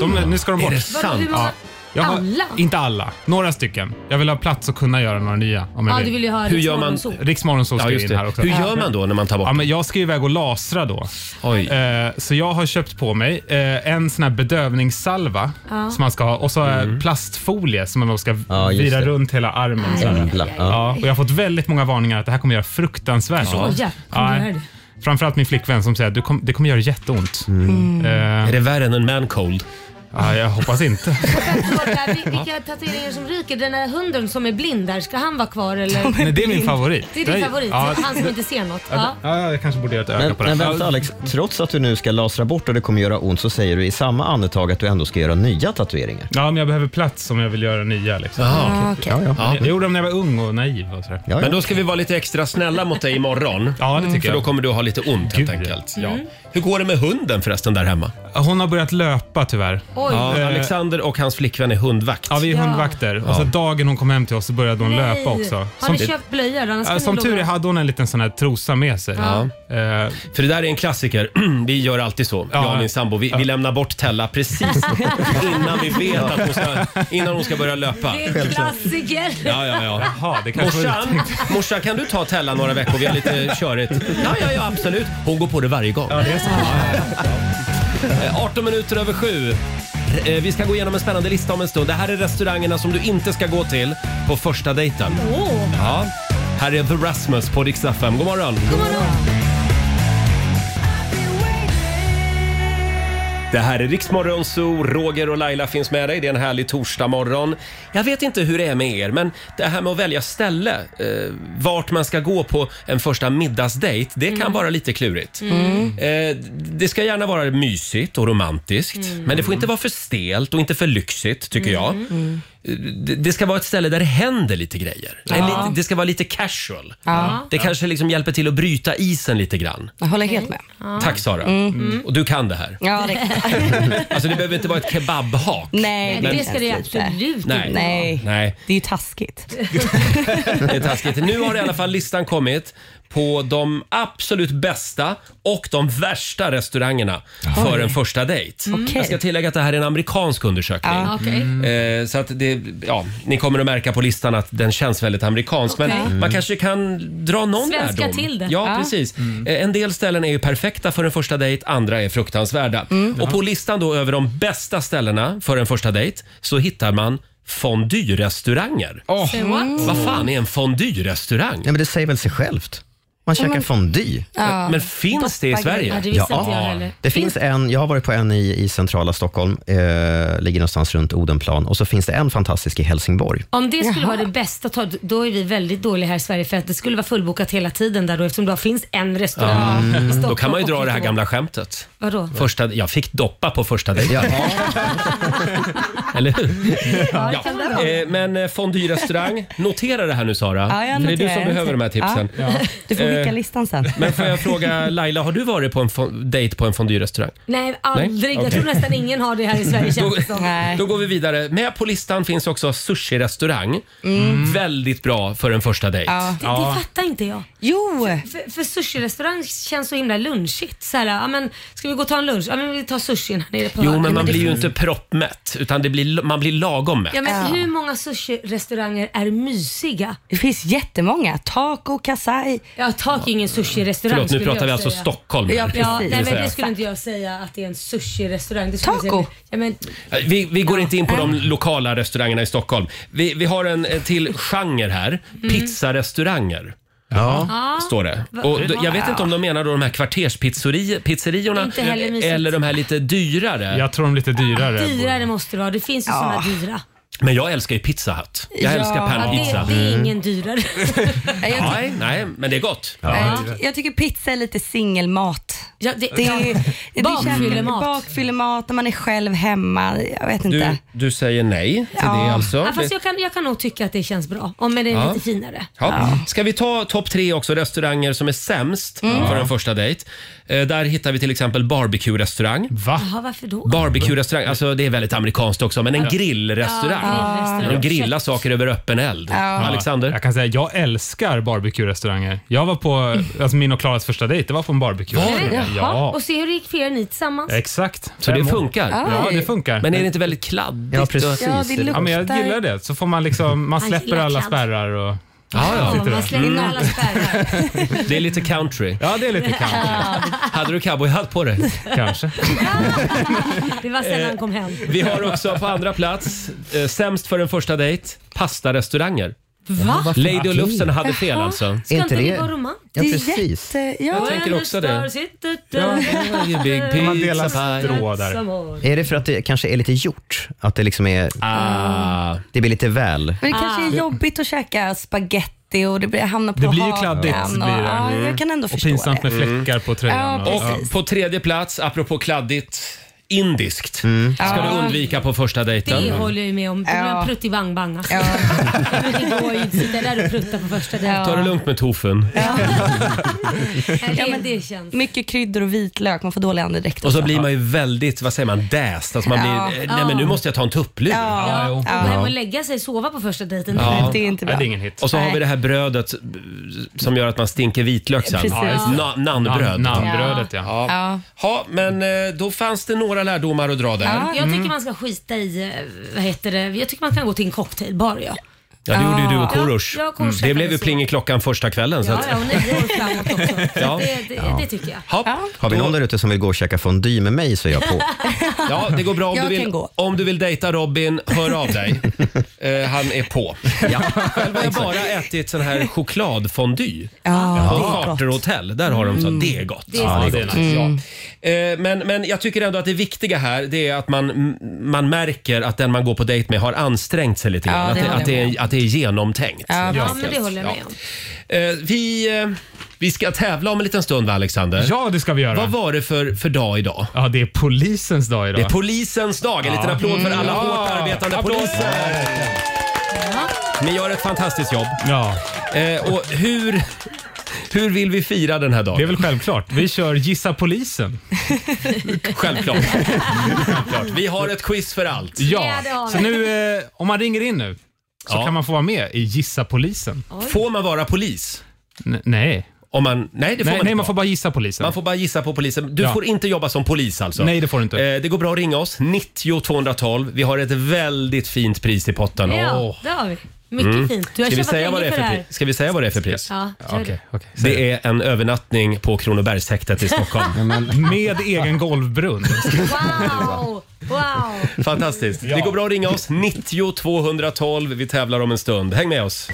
De, nu ska de bort. Vadå, hur många? Jag har, Alla? Inte alla, några stycken. Jag vill ha plats att kunna göra några nya om jag Ja, du vill ju ha Hur gör Riksmorgon man- så. Riksmorgon så ska Ja, ju just in här det. också. Hur gör man då när man tar bort Ja, men jag ska ju iväg och lasra då. Oj. Eh, så jag har köpt på mig eh, en sån här bedövningssalva som man ska ha och så mm. plastfolie som man ska Ja, just vira det. runt hela armen. Så här. Jävlar. Ja. Ja, och jag har fått väldigt många varningar att det här kommer göra fruktansvärt ont. Ja, kommer Nej. du göra det? Framförallt min flickvän som säger att du kom, det kommer göra jätteont. Mm. Eh, Mm. Är det värre än en mancold? ja, jag hoppas inte. Förlåt, där, vil- Vilka tatueringar som ryker? Den där hunden som är blind där, ska han vara kvar eller? Nej, det är min favorit. Det är din favorit, Ja, han som inte ser något. Ja. ja, jag kanske borde göra ett öga Men, på men den. vänta Alex, trots att du nu ska lasra bort och det kommer göra ont så säger du i samma andetag att du ändå ska göra nya tatueringar. Ja, men jag behöver plats om jag vill göra nya. Liksom. Jaha. Ja, ja. Jag, jag gjorde dem när jag var ung och naiv. Och sådär. Ja, Men ja. då ska vi vara lite extra snälla mot dig imorgon. Ja, det tycker För då jag. kommer du ha lite ont helt Gud, enkelt. Ja. Mm. Hur går det med hunden förresten där hemma? Hon har börjat löpa tyvärr. Oj. Ja, Eh, Alexander och hans flickvän är hundvakt. Ja, vi är Ja. hundvakter. Och så dagen hon kom hem till oss så började hon löpa också. Har ni köpt blöjor? Annars Ja, kan som ni tur är låna. hade hon en liten sån här trosa med sig. Eh, För det där är en klassiker. vi gör alltid så, jag och min sambo. Vi, vi lämnar bort Tella precis innan vi vet att hon ska, innan hon ska börja löpa. Det är en klassiker. Ja, ja, ja. Jaha, det kanske var Morsan, uttänkt. morsan, kan du ta Tella några veckor? Vi har lite körigt. Ja, ja, ja, absolut. Hon går på det varje gång. Det är så. Eh, 18 minuter över sju. Eh, Vi ska gå igenom en spännande lista om en stund. Det här är restaurangerna som du inte ska gå till på första dejten. Åh. Ja. Här är The Rasmus på Dix FM. God morgon! God morgon! Det här är Riksmorgon Zoo. Roger och Laila finns med dig. Det är en härlig torsdagmorgon. Jag vet inte hur det är med er, men det här med att välja ställe, eh, vart man ska gå på en första middagsdejt, det kan vara lite klurigt. Eh, det ska gärna vara mysigt och romantiskt, men det får inte vara för stelt och inte för lyxigt, tycker jag. Mm. Mm. Eh, Det- Det ska vara ett ställe där det händer lite grejer. En lite, det ska vara lite casual. Det kanske liksom hjälper till att bryta isen lite grann. Jag håller helt med. Tack Sara. Och du kan det här. Ja, det Alltså det behöver inte vara ett kebabhak. Nej, Nej, det ska det absolut inte. Nej. Nej. Nej, Det är ju taskigt. det är taskigt. Nu har i alla fall listan kommit på de absolut bästa och de värsta restaurangerna för en första dejt. Mm. Okej. Ah, Jag ska tillägga att det här är en amerikansk undersökning. Ja. Okej. Eh, Så att det, ja, ni kommer att märka på listan att den känns väldigt amerikansk. Men Okej. man kanske kan dra någon Svenska lärdom. till det. Ja, Ja. precis. Mm. Eh, En del ställen är ju perfekta för en första dejt, andra är fruktansvärda. Mm. Och på listan då över de bästa ställena för en första dejt så hittar man fondyrestauranger. Say what? Mm. Vad fan är en fondyrestaurang? Nej, men det säger väl sig självt? Man käkar fondue. Ja. Men finns det i Doppa Sverige? Ja, det visste inte jag heller. Det finns en, jag har varit på en i, i centrala Stockholm, eh, ligger någonstans runt Odenplan och så finns det en fantastisk i Helsingborg. Om det skulle vara det bästa, ta- då är vi väldigt dåliga här i Sverige för att det skulle vara fullbokat hela tiden där då eftersom det bara finns en restaurang i Stockholm. Mm. Då kan man ju och dra det här Göteborg. gamla skämtet. Vadå? Första, jag fick doppa på första dejten. Eller hur? Ja, det Ja. kan det vara. Eh, Men eh, fondue-restaurang, notera det här nu Sara. Ja, jag För det är du noterar som det. behöver de här tipsen. Eh, Ja. Du får skicka listan sen. Men får jag fråga Laila, har du varit på en fo- dejt på en fondue-restaurang? Nej, aldrig. Jag tror nästan ingen har det här i Sverige känns det som. Nej. Då går vi vidare. Med på listan finns också sushi-restaurang. Väldigt bra för en första dejt. Ja. Mm. Det, det fattar inte jag. Jo, För, för sushi-restaurang känns så himla lunchigt. Så här, ja, men, ska vi gå och ta en lunch? Ja, men vi tar sushin här nere på Jo, hörnet. men man det- blir ju inte proppmätt, utan det blir, man blir lagom mätt. Ja, men Ja. hur många sushi-restauranger är mysiga? det finns jättemånga. Taco, kasai. Ja, tak är ingen sushi-restaurang Förlåt, nu skulle pratar jag vi alltså säga. Stockholm. här. Ja, Ja, Precis. nej, Det vill men det säga. skulle inte jag säga att det är en sushi-restaurang. Det skulle jag Taco. säga- Ja, men, Vi, vi går inte in på de lokala restaurangerna i Stockholm. Vi, vi har en eh, till genre här. Mm. Pizzarestauranger. Står det. Och d- jag vet inte om de menar då de här kvarterspizzerierna Inte heller mysigt. eller de här lite dyrare. Jag tror de är lite dyrare. dyrare måste det vara. Det finns ju såna dyra. Men jag älskar ju Pizza Hut. Jag älskar Ja, pannpizza. Mm. det, det är ingen dyrare. Jag, ty- Nej, nej, men det är gott. jag, jag tycker pizza är lite singelmat. Ja, det, Det ja. är, det Bakfyllemat. Bakfyllemat när man är själv hemma. Jag vet inte. Du, du säger nej till det alltså. Ja, fast jag, kan, jag kan nog tycka att det känns bra om det är Ja. lite finare. Ja. Ska vi ta topp tre också, restauranger som är sämst Mm. för en första dejt. Eh, där hittar vi till exempel barbecue-restaurang. Va? Jaha, varför då? Barbecue-restaurang, alltså det är väldigt amerikanskt också, men en grillrestaurang. grillrestaurang. De grillar saker över öppen eld. Alexander? Jag kan säga, jag älskar barbecue-restauranger. Jag var på, alltså min och Klaras första dejt, det var på en barbecue. Eller? Jaha, Ja, Och se hur det gick för er ni tillsammans. exakt. Så det Fem år. funkar? Ja, det funkar. Men är det inte väldigt kladdigt? Ja, precis. Ja, det luktar. Ja, men jag gillar det. Så får man liksom, man Han släpper gillar alla kladd. spärrar och... Ja, Mm. Ja, man slänger in alla spärrar. ja. Det är lite country. Mm. Ja, det är lite kanske. Hade du cowboyhatt på dig? kanske. Det var sen han kom hem. Vi har också på andra plats, eh, sämst för en första dejt, pastarestauranger. Va? Lady och Lufsen hade fel alltså. Ska Är inte inte det det- vara romantiskt? Ja, det är precis. jätte... Ja. tänker också det. Ja. You big Man pizza delar pie. strå där. Är det för att det kanske är lite gjort? Att det liksom är, Ah. det blir lite väl? Men det kanske Ah. är jobbigt att käka spaghetti och det blir, hamnar på Det blir ju hakan kladdigt, och- blir det. Ja, jag kan ändå Och förstå pinsamt det. Mm. med fläckar på tröjan. Ja, och- precis. Och på tredje plats, apropå kladdigt, indiskt. Mm. Ska du Ja. undvika på första Det dejten. håller jag ju med om. Det blir Ja. en prutt i bang bang. Alltså. Det går ju inte att sitta där och prutta på första dejten. Ta det lugnt med tofun. Ja, men det känns. Mycket kryddor och vitlök, man får dålig andedräkt. Och så också. blir man ju väldigt, vad säger man, däst. Alltså man Ja. blir, eh, nej men nu måste jag ta en tupplur. Ja, Gå hem och lägga sig och sova på första dejten. Ja. det är inte Nej, bra. det är ingen hit. Och så har vi Nej. det här brödet eh, som gör att man stinker vitlök sen. Precis. Ja, just det. Na- nannbröd. Nan- Nannbrödet, ja. Ja. Ja. men eh, då fanns det några lärdomar att dra där. Ja, Jag tycker man ska skita i, eh, vad heter det, jag tycker man kan gå till en cocktailbar. Ja, det gjorde ju du och Ja, Korosh. Mm. jag och Korosh det blev ju träffades pling i klockan första kvällen. Så ja, att, ja och nio år framåt också. Ja. Det, det, det tycker jag. Hopp. Har vi Då- någon där ute som vill gå och käka fondue med mig så är jag på. Ja, det går bra om Jag du, vill, kan gå. om du vill dejta Robin, hör av dig. Eh, han är på. Ja. Själv har jag bara ätit sån här chokladfondue på Ja, det är gott. charterhotell. Där har de så. Det är gott. är Ja, det är nice. Ja. Eh, Men, men jag tycker ändå att det viktiga här det är att man, m- man märker att den man går på dejt med har ansträngt sig lite grann. det att, det, håller att, det jag är, att det är genomtänkt. Ja, men det håller jag med om. Eh, Vi, eh, vi ska tävla om en liten stund, va, Alexander? Ja, det ska vi göra. Vad var det för, för dag idag? Ja, det är polisens dag idag. Det är polisens dag. En liten applåd för alla Ja. hårt arbetande Applåd. poliser. Ni gör ett fantastiskt jobb. ja, Eh, och hur, hur vill vi fira den här det är dagen? väl självklart. Vi kör Gissa polisen. Självklart. Självklart. Vi har ett quiz för allt. Ja, Ja, det har vi. så nu, eh, om man ringer in nu så Ja. kan man få vara med i Gissa polisen. Får man vara polis? N- nej. Om man, nej, det får man nej, nej, inte man får vara. bara gissa polisen. Man får bara gissa på polisen. Du Ja. får inte jobba som polis alltså? Nej, det får du inte. Eh, det går bra att ringa oss. 90 212. Vi har ett väldigt fint pris i potten. Åh. Ja, Mm. det har vi. Mycket fint. Du Ska, har vi kämpat säga länge vad det är för här. pri- ska vi säga vad det är för pris? Ja, kör det. Okej, okej. Det är en övernattning på Kronobergshäktet i Stockholm. Med egen golvbrunn. Wow! Wow! Fantastiskt. Det går bra att ringa oss. 90 212. Vi tävlar om en stund. Häng med oss.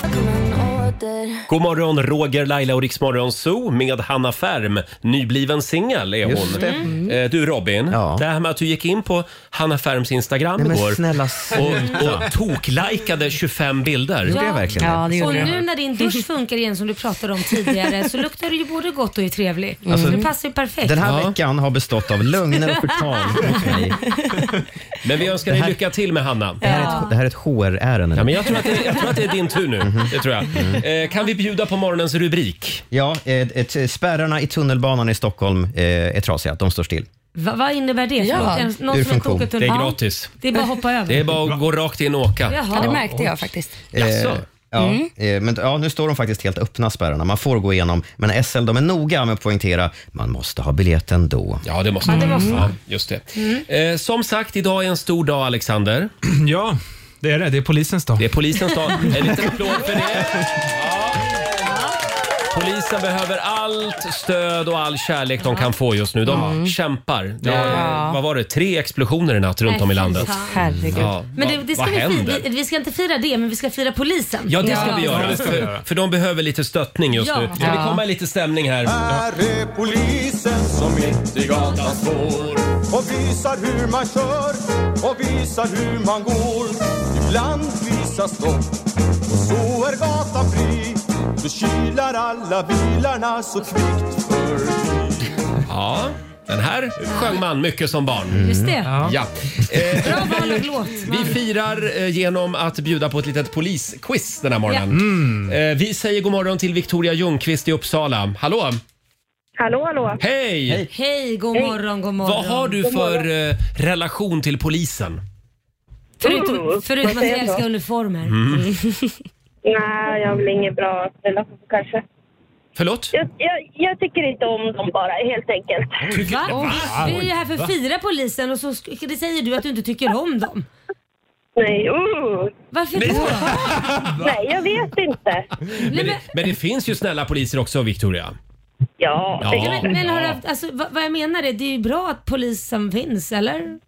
Kommer han åter? God morgon, Roger, Laila och Riksmorgon Zoo med Hanna Färm. Nybliven singel är Just hon. det. Eh, Du Robin, Ja. det här med att du gick in på Hanna Färms Instagram Nej, men igår snälla, och, och toklajkade 25 bilder. Gjorde jag verkligen det? Ja, det Och gjorde nu jag. när din dusch funkar igen som du pratade om tidigare så luktar du ju både gott och är trevlig. Mm. Alltså, det passar ju perfekt. Den här Ja. veckan har bestått av lögner och förtal mot mig. Men vi önskar Det dig här- lycka till med Hanna. Det här är ett, det här är ett HR-ärende. Ja, men jag, tror att det, jag tror att det är din tur nu. Mm-hmm. Det tror jag. Mm. Eh, kan vi bjuda på morgonens rubrik? Ja, eh, ett, spärrarna i tunnelbanan i Stockholm eh, är trasiga. De står still. Va, vad innebär det? Ja. Förlåt, en- Någon Ur som har funktion. kokat Det under- är Ja. gratis. Det är bara att hoppa över. Det är bara att gå rakt in och åka. Ja, Jaha. Mm. det märkte jag faktiskt. Mm. Jaså? Mm. Ja, eh, men, ja, nu står de faktiskt helt öppna spärrarna. Man får gå igenom, men SL de är noga med att poängtera man måste ha biljetten då. Ja, det måste man. Mm. Ja, just det. Eh, som sagt, idag är en stor dag, Alexander. Ja, det är det. Det är polisens dag. Det är polisens dag. En liten applåd för det. Ja. Polisen behöver allt stöd och all kärlek de kan få just nu. De Mm. kämpar. Det har, Ja. Vad var det? Tre explosioner i natt runt om i landet. Nej, fy fan. Herregud. Ja, Men det, vad- det ska vad vi, händer? fi- vi, vi ska inte fira det, men vi ska fira polisen. Ja, det ska vi göra. det ska vi för, göra. för de behöver lite stöttning just Ja. nu. Ska vi Ja. komma i lite stämning här? Här är polisen som mitt i gatan står och visar hur man kör och visar hur man går. Ibland visar stopp och så är gatan fri. Då kilar alla bilarna så kvickt förbi. Ja, den här sjöng man mycket som barn. Just det. Ja. Eh, Bra val av låt. vi firar eh, genom att bjuda på ett litet polisquiz den här morgonen. Eh, vi säger god morgon till Victoria Ljungqvist i Uppsala. Hallå! Hallå, hallå. Hej! Hej, god morgon, god morgon. Vad har du för eh, relation till polisen? Förutom, förutom att jag säger jag då? älskar uniformer. Mm. Nej, jag har väl ingen bra relation kanske. Förlåt? Jag, jag, jag tycker inte om dem bara, helt enkelt. Va? Vi är ju här för att fira polisen och så sk- det säger du att du inte tycker om dem. Nej, uh. Varför då? Nej, jag vet inte. Men Nej, det, men, men det finns ju snälla poliser också, Victoria. Ja, Ja. det- men, men har du haft, alltså, vad, vad jag menar är, det är ju bra att polisen finns, eller?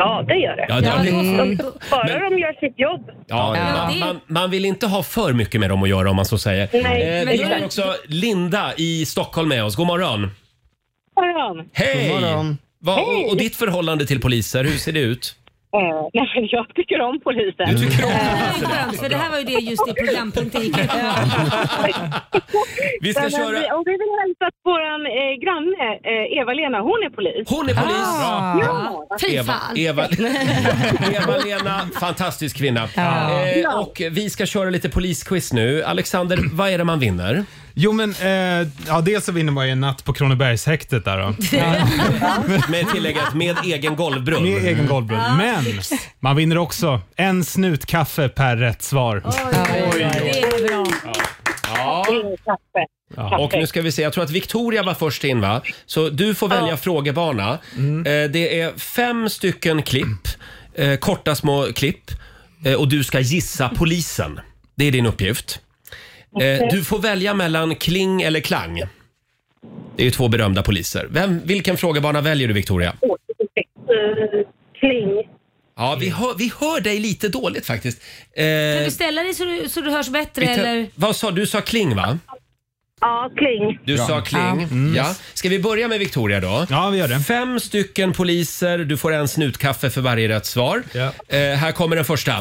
ja det gör det. Ja, det- då- Bara men- de gör sitt jobb. Ja, Ja, man- det- Man, man vill inte ha för mycket med dem att göra om man så säger. Eh, Nej, vi men det- har också Linda i Stockholm med oss. God morgon! Ja. Hej! God morgon. Va, och, och ditt förhållande till poliser, hur ser det ut? Eh, Nej, men jag tycker om polisen. Eh, Du tycker om Det det? här är ju skönt, för det här var ju det just i programpunkt jag gick ut på. Vi ska Men, köra... eh, Och vi vill hälsa att vår eh, granne eh, Eva-Lena, hon är polis. Hon är polis! Ja. Ah. Fy Eva, fan. Eva, Eva-Lena, fantastisk kvinna. Ja. Eh, och vi ska köra lite polisquiz nu. Alexander, vad är det man vinner? Jo, men eh, ja, dels så vinner man ju en natt på Kronobergshäktet där då. Med tillägget med egen golvbrunn. Med egen golvbrunn. Men man vinner också en snut kaffe per rätt svar. Det är bra. Kaffe. Och nu ska vi se, jag tror att Victoria var först in va? Så du får välja frågebana. Eh, det är fem stycken klipp, eh, korta små klipp. Eh, och du ska gissa polisen. Det är din uppgift. Eh, du får välja mellan Kling eller Klang. Det är ju två berömda poliser. Vem, vilken frågebana väljer du Victoria? Eh, Kling. Ja, vi hör, vi hör dig lite dåligt faktiskt. Eh, Kan du ställa dig så du, så du hörs bättre vi tar- eller? Vad sa du? Du sa Kling va? Ja, Kling. Du sa Kling. Mm. Ja. Mm. Ska vi börja med Victoria då? Ja, vi gör det. Fem stycken poliser, du får en snutkaffe för varje rätt svar. Ja. Eh, här kommer den första.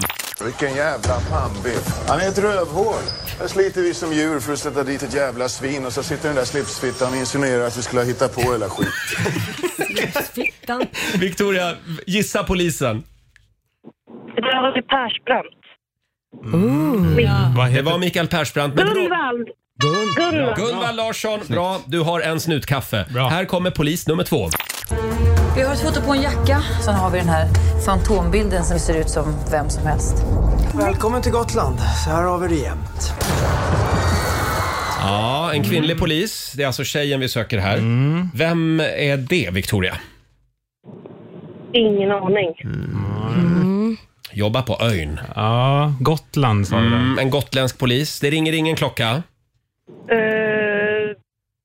Vilken jävla pannbiff. Han är ett rövhål. Här sliter vi som djur för att sätta dit ett jävla svin och så sitter den där slipsfittan och insinuerar att vi skulle ha hittat på hela skiten. Fittan. Victoria, gissa polisen. Det var det Persbrandt. Mm. Vad Det heter var Mikael Persbrandt. Men bra. Gunvald. Gun- Gunvald. Gunvald Larsson, bra. Du har en snutkaffe. Bra. Här kommer polis nummer två. Vi har ett foto på en jacka. Sen har vi den här fantombilden som ser ut som vem som helst. Välkommen till Gotland. Så här har vi det jämt. Ja, en kvinnlig polis. Det är alltså tjejen vi söker här. Vem är det, Victoria? Ingen aning. Mm. Jobbar på ön. Mm. Ja, Gotland sa du där. Mm, en gotländsk polis. Det ringer ingen klocka. Eh,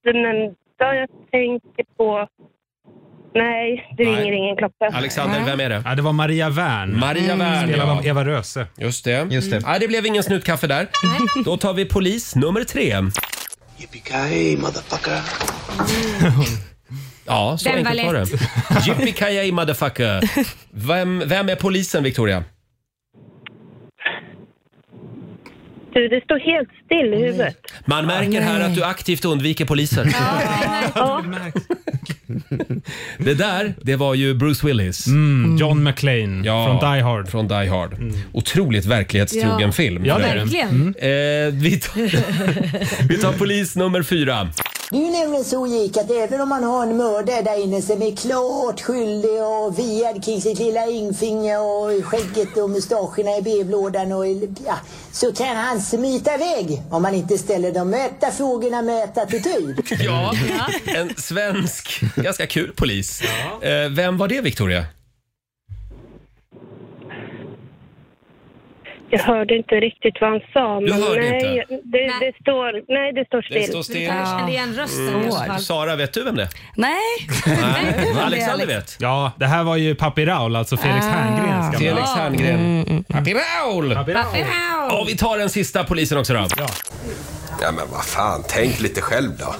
den enda jag tänker på Nej, det Nej. ringer ingen klocka. Alexander, vem är det? Ja, det var Maria Wern. Mm. Maria Wern, Spelad ja. av Eva Röse. Just det. Just det. Nej, det blev ingen snutkaffe där. Då tar vi polis nummer tre. Yippee-ki-yay, motherfucker. Ja, så Den enkelt var var det. lätt. Yippee-ki-yay, motherfucker. Vem, vem är polisen, Victoria? Du, det står helt still i huvudet. Man märker här att du aktivt undviker poliser. Ja. Det där, det var ju Bruce Willis. Mm, John McClane från Die Hard. Från Die Hard. Otroligt verklighetstrogen Ja. film. Ja, för övrigt. verkligen. Mm. Eh, vi, tar, vi tar polis nummer fyra. Det är ju nämligen så gick att även om man har en mördare där inne som är klart skyldig och viad kring sitt lilla ringfinger och skägget och mustascherna i brevlådan och i- ja, så kan han smita iväg om man inte ställer de rätta frågorna med rätt attityd. Ja, en svensk, ganska kul polis. Eh, vem var det, Victoria? Jag hörde inte riktigt vad han sa. Men hörde nej, inte? Det, det står, nej, det står still. Det står still. Jag kände igen rösten i alla fall. Mm. Sara, vet du vem det är? Nej. Nej, Alexander vet. Ja, det här var ju Papi Raul, alltså Ah. Felix Herngrens gamla. Felix Herngren. Mm, Papi Raul! Ah. Raul. Och vi tar den sista polisen också då. Ja, men vad fan, tänk lite själv då.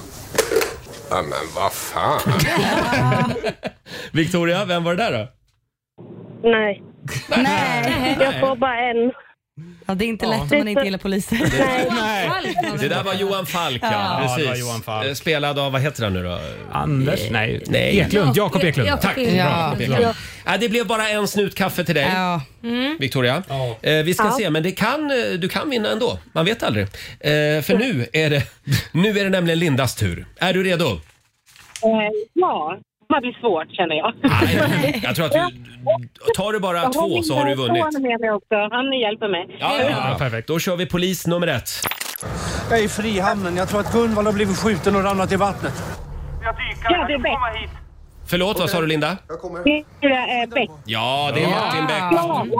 Ja, men vad fan. Victoria, vem var det där då? Nej. Nej. Jag får bara en. Ja, det är inte lätt om man inte gillar poliser. Nej. Det där var Johan Falk, ja. Ja, Precis. det var Johan Falk. Eh, Spelad av, vad heter han nu då? Eh, Anders? Nej. Eklund. Jakob Eklund. Jakob Tack. Eklund. Bra, Jakob Eklund. Ja. Ja, det blev bara en snut kaffe till dig, Mm. Victoria. Eh, vi ska Ja. se, men det kan, eh, du kan vinna ändå. Man vet aldrig. Eh, för nu är, det, nu är det nämligen Lindas tur. Är du redo? Eh, ja, det bara blir svårt känner jag. Jag tror att du, tar du bara två så har du vunnit. Han med mig också. Han hjälper mig. perfekt. Då kör vi polis nummer ett. Jag är i Frihamnen. Jag tror att Gunvald har blivit skjuten och ramlat i vattnet. Ja, det är Beck. Förlåt, vad sa du Linda? Det är eh, Beck. Ja, det är Ja. Martin Beck.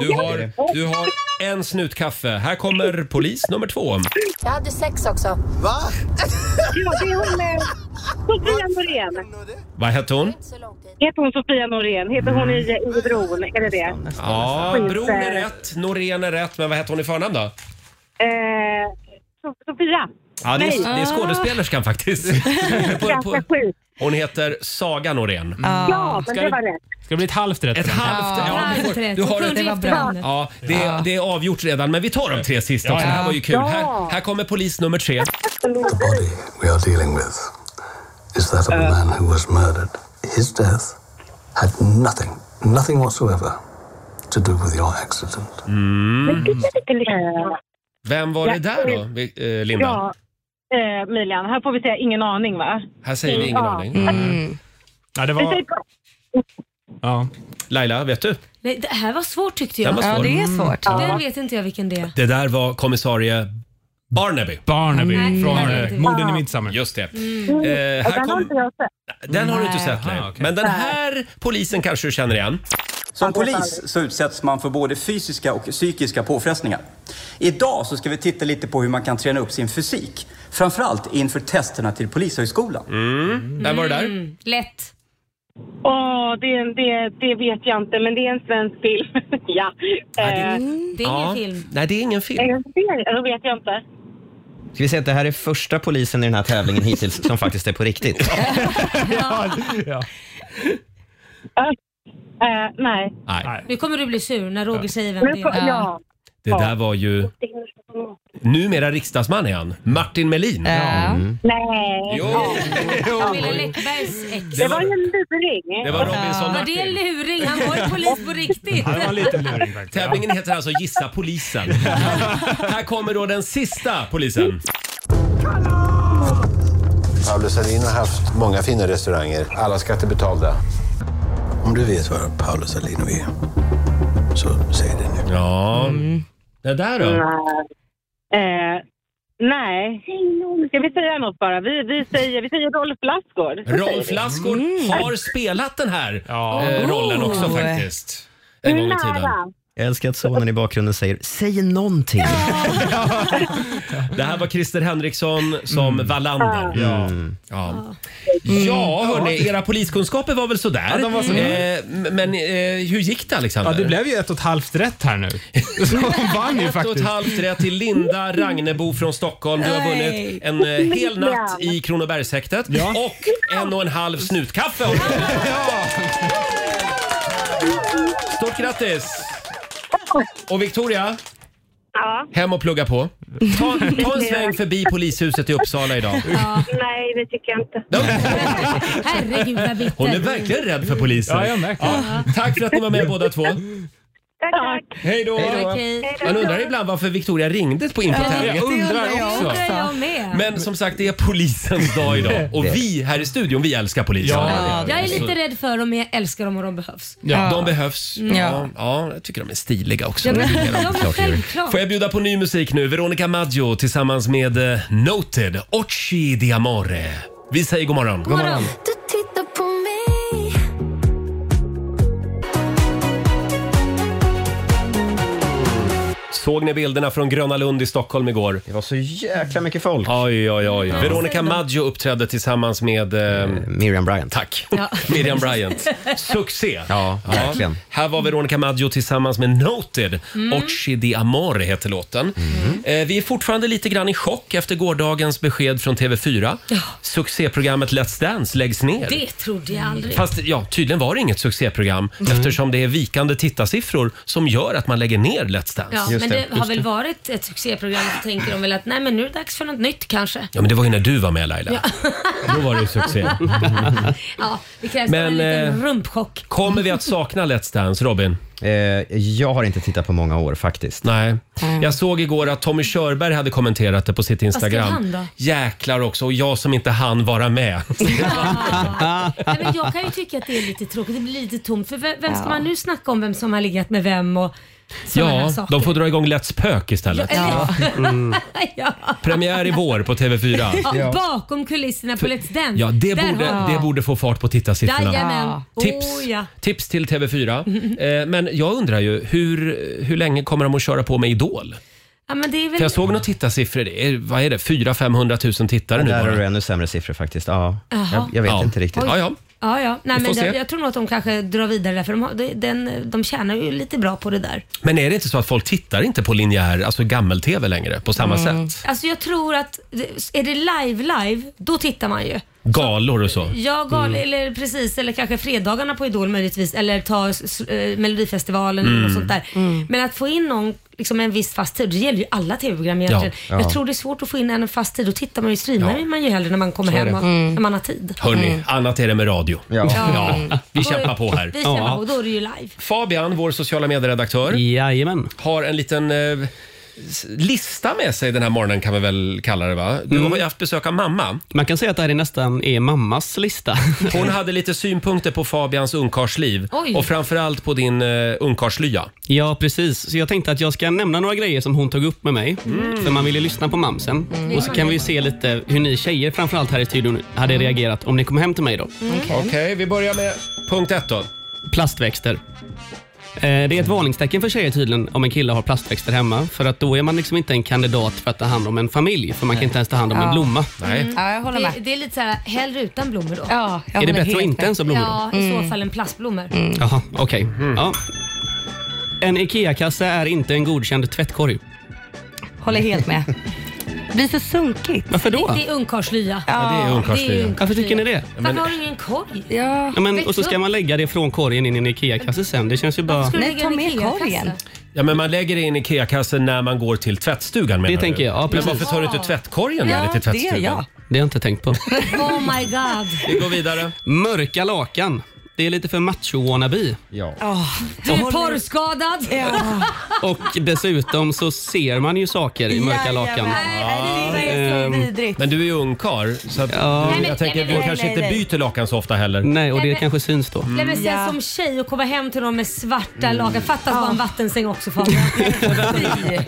Du har, du har en snut kaffe. Här kommer polis nummer två. Jag hade sex också. Va? Ja, det är hon med Sofia Norén. Vad hette hon? Heter hon Sofia Norén? Heter hon i, eh, i Bron? Är det eh, det? Ja, Bron är rätt, Norén är rätt, men vad hette hon i förnamn då? Eh, So- Sofia. Ja, det, Nej. är, det är skådespelerskan faktiskt. På- på- Ganska sjukt. Hon heter Saga Norén. Ja, men Mm. Ska det vi- var rätt. Ska det bli ett halvt rätt? Ett halvt, Ja, ja. halvt du får- rätt. Du Jag har trodde ett, det var bra. Ja, det, är- det är avgjort redan, men vi tar de tre sista Ja, också. Det här ja. var ju kul. Ja. Här, här kommer polis nummer tre. We are dealing with is that of a Uh. man who was murdered. His death had nothing, nothing whatsoever to do with your accident. Men gud, jag tycker liksom- Mm. Vem var det där då, Vi- eh, Linda? Ja, eh, Milian. Här får vi säga ingen aning, va? Här säger vi ingen Ja. aning. Mm. Ja, Vi säger Ja. Laila, vet du? Nej, det här var svårt tyckte Den jag. var Ja, svår. det är svårt. Mm. Ja. Den vet inte jag vilken det är. Det där var kommissarie Barnaby. Barnaby Nej, från nej, eh, nej. Morden i Midsommar. Just det. Mm. Eh, här den har kom, inte jag sett. den har du inte sett, nej. Men den här polisen kanske du känner igen? Som polis så utsätts man för både fysiska och psykiska påfrestningar. Idag så ska vi titta lite på hur man kan träna upp sin fysik. Framförallt inför testerna till Polishögskolan. Mm. Mm, Lätt. Åh, det, det, det vet jag inte, men det är en svensk film. ja. Ja, det- Eh, Ja. Nej, det är ingen film. Är det en serie? Då vet jag inte. Ska vi säga att det här är första polisen i den här tävlingen hittills som faktiskt är på riktigt? Eh, nej. Nej. Nu kommer du bli sur när Roger säger vem Nu det får- är. ja. Det där var ju... Numera riksdagsman är han. Martin Melin. Mm. Nej. Jo. Camilla Läckbergs ex. Det var en luring. Det var Robinson Var Martin. det en luring? Han var ju polis på riktigt. Tävlingen heter alltså Gissa polisen. Här kommer då den sista polisen. Pablo Salin har haft många fina restauranger. Alla skatter betalda. Om du vet var Paolo Salino är, så säg det nu. Ja. Det där då? Mm. Eh, nej. Ska vi säga något bara? Vi, vi, säger, vi säger Rolf Lassgård. Det säger Rolf vi. Lassgård Mm. Mm. Mm. har spelat den här eh, rollen också faktiskt. Hur En gång i nära? tiden. Oh. Jag älskar att sonen i bakgrunden säger “säg någonting”. Det här var Christer Henriksson som Wallander. Ja. Ja. Mm. ja, hörni, era poliskunskaper var väl sådär. Ja, de var sådär. Eh, m- men eh, hur gick det Alexander? Ja, det blev ju ett och ett halvt rätt här nu. Så hon vann ju Ett och ett faktiskt. halvt rätt till Linda Ragnebo från Stockholm. Du har vunnit en eh, hel natt i Kronobergshäktet och en och en halv snutkaffe. Stort grattis! Och Victoria, Ja. hem och plugga på. Ta, ta en sväng förbi polishuset i Uppsala idag. Ja. Nej, det tycker jag inte. Herregud vad bitter. Hon är verkligen rädd för polisen. Ja, jag märker det. Ja, tack för att ni var med båda två. Tack, tack. Hej då! Okej. Man undrar ibland varför Victoria ringde på infotävlingen. det Det undrar jag med. Men som sagt, det är polisens dag idag. Och Det- vi här i studion, vi älskar polisen. jag är lite rädd för dem, men jag älskar dem och de behövs. Ja, de behövs. Mm. Ja. ja, jag tycker de är stiliga också. Ja, men- Det är de. ja, men Klart det är. självklart. Får jag bjuda på ny musik nu? Veronica Maggio tillsammans med eh, Noted, Occhi di Amore. Vi säger god morgon. God morgon. Du tittar på mig Såg ni bilderna från Gröna Lund i Stockholm igår? Det var så jäkla mycket folk. Oj, oj, oj. Veronica Maggio uppträdde tillsammans med... Eh, Miriam Bryant. Tack. Miriam Bryant. Succé! Ja, verkligen. Här var Veronica Maggio tillsammans med Noted. Mm. Occhi di Amore heter låten. Mm. Eh, vi är fortfarande lite grann i chock efter gårdagens besked från TV4. Succéprogrammet Let's Dance läggs ner. Det Mm. trodde jag aldrig. Fast ja, tydligen var det inget succéprogram eftersom det är vikande tittarsiffror som gör att man lägger ner Let's Dance. Ja, men det, har väl varit ett succéprogram så tänker de väl att nej men nu är det dags för något nytt kanske. Ja, men det var ju när du var med Laila. Då var det ju succé. Ja, det krävs Men, en liten eh, rumpchock. Kommer vi att sakna Let's Dance, Robin? Eh, jag har inte tittat på många år faktiskt. Nej. Jag såg igår att Tommy Körberg hade kommenterat det på sitt Instagram. Mm. Vad skrev han Jäklar också, och jag som inte hann vara med. Nej, men jag kan ju tycka att det är lite tråkigt, det blir lite tomt. För vem, vem ska Ja. man nu snacka om vem som har legat med vem och sådana här Ja, saker? de får dra igång Let's Pök istället. Ja. Mm. ja. Premiär i vår på TV4. Ja, bakom kulisserna på Let's Dance. Ja, det, Där borde, har- det borde få fart på tittarsiffrorna. Jajamän. Tips, Oh, ja. tips till TV4. Eh, Men jag undrar ju, hur, hur länge kommer de att köra på med Idol? Ja, men det är väl... För jag såg några tittarsiffror. Det är, vad är det? 400-500 000 tittare nu Där har bara. du ännu sämre siffror faktiskt. Ja. Jaha. Jag, jag vet Ja. inte riktigt. Oj. Ja, ja. Ja, ja. Nej, Vi men får det, se. jag tror nog att de kanske drar vidare där, för de, har, det- den, de tjänar ju lite bra på det där. Men är det inte så att folk tittar inte på linjär, alltså gammel-tv längre på samma sätt? Alltså jag tror att, är det live live, då tittar man ju. Galor och så. Ja, gal, Mm. eller precis, eller kanske fredagarna på Idol möjligtvis, eller ta s- eh, Melodifestivalen eller Mm. något sånt där. Men att få in någon, liksom en viss fast tid, det gäller ju alla TV-program egentligen. Ja, ja. Jag tror det är svårt att få in en fast tid, då tittar man ju, streamar Ja. man ju hellre när man kommer Så är hem det. och, när man har tid. Hörni, annat är det med radio. Ja. Vi Då är- kämpar på här. Mm. Vi kämpar på, då är det ju live. Fabian, vår sociala medieredaktör, Jajamän. har en liten eh, s- lista med sig den här morgonen kan vi väl kalla det va? Du har ju haft besök av mamma. Mm. Man kan säga att det här är nästan är mammas lista. Hon hade lite synpunkter på Fabians ungkarlsliv Oj. och framförallt på din uh, ungkarlslya. Ja, precis. Så jag tänkte att jag ska nämna några grejer som hon tog upp med mig. För man ville lyssna på mamsen. Mm. Och så kan vi se lite hur ni tjejer, framförallt här i studion, hade reagerat om ni kom hem till mig då. Okej, vi börjar med punkt ett då. Plastväxter. Eh, Det är ett varningstecken för tjejer tydligen om en kille har plastväxter hemma. För att då är man liksom inte en kandidat för att ta hand om en familj. För man kan inte ens ta hand om Ja. en blomma. Mm. det, det är lite såhär, hellre utan blommor då. Ja, Är det håller bättre att helt inte med. Mm. ens ha blommor då? Ja, i så fall en plastblommor. Jaha, okej. Mm. Ja. En IKEA-kasse är inte en godkänd tvättkorg. Håller helt med. Det blir så sunkigt. Varför då? Det är ungkarlslya. Ja, det är ungkarlslya. Det är Varför tycker ni det? Varför Men- har du ingen korg? Ja. Ja, men, och så ska man lägga det från korgen in i en IKEA-kasse sen. Det känns ju bara... Ska du Nej, lägga ta en med Ikea-kasse? korgen. Ja, men man lägger det in i IKEA-kassen när man går till tvättstugan menar Det tänker du? jag, ja, men precis. varför tar du inte tvättkorgen med dig till tvättstugan? Det har jag inte tänkt på. Oh my god. Vi går vidare. Mörka lakan. Det är lite för macho-wannabe. Ja. Du är porrskadad. Och dessutom så ser man ju saker i mörka lakan. Jajamän. Nej, det är ehm, vidrigt. Men du är ju ungkarl så att, Ja. du, Nej, men- jag tänker nej, men- du nej, kanske nej, inte nej. byter lakan så ofta heller. Mm. Nej, och Nej, det men- kanske syns då. Nej Mm, men sen som tjej och komma hem till någon med svarta lakan. Fattas bara en vattensäng också Fabian.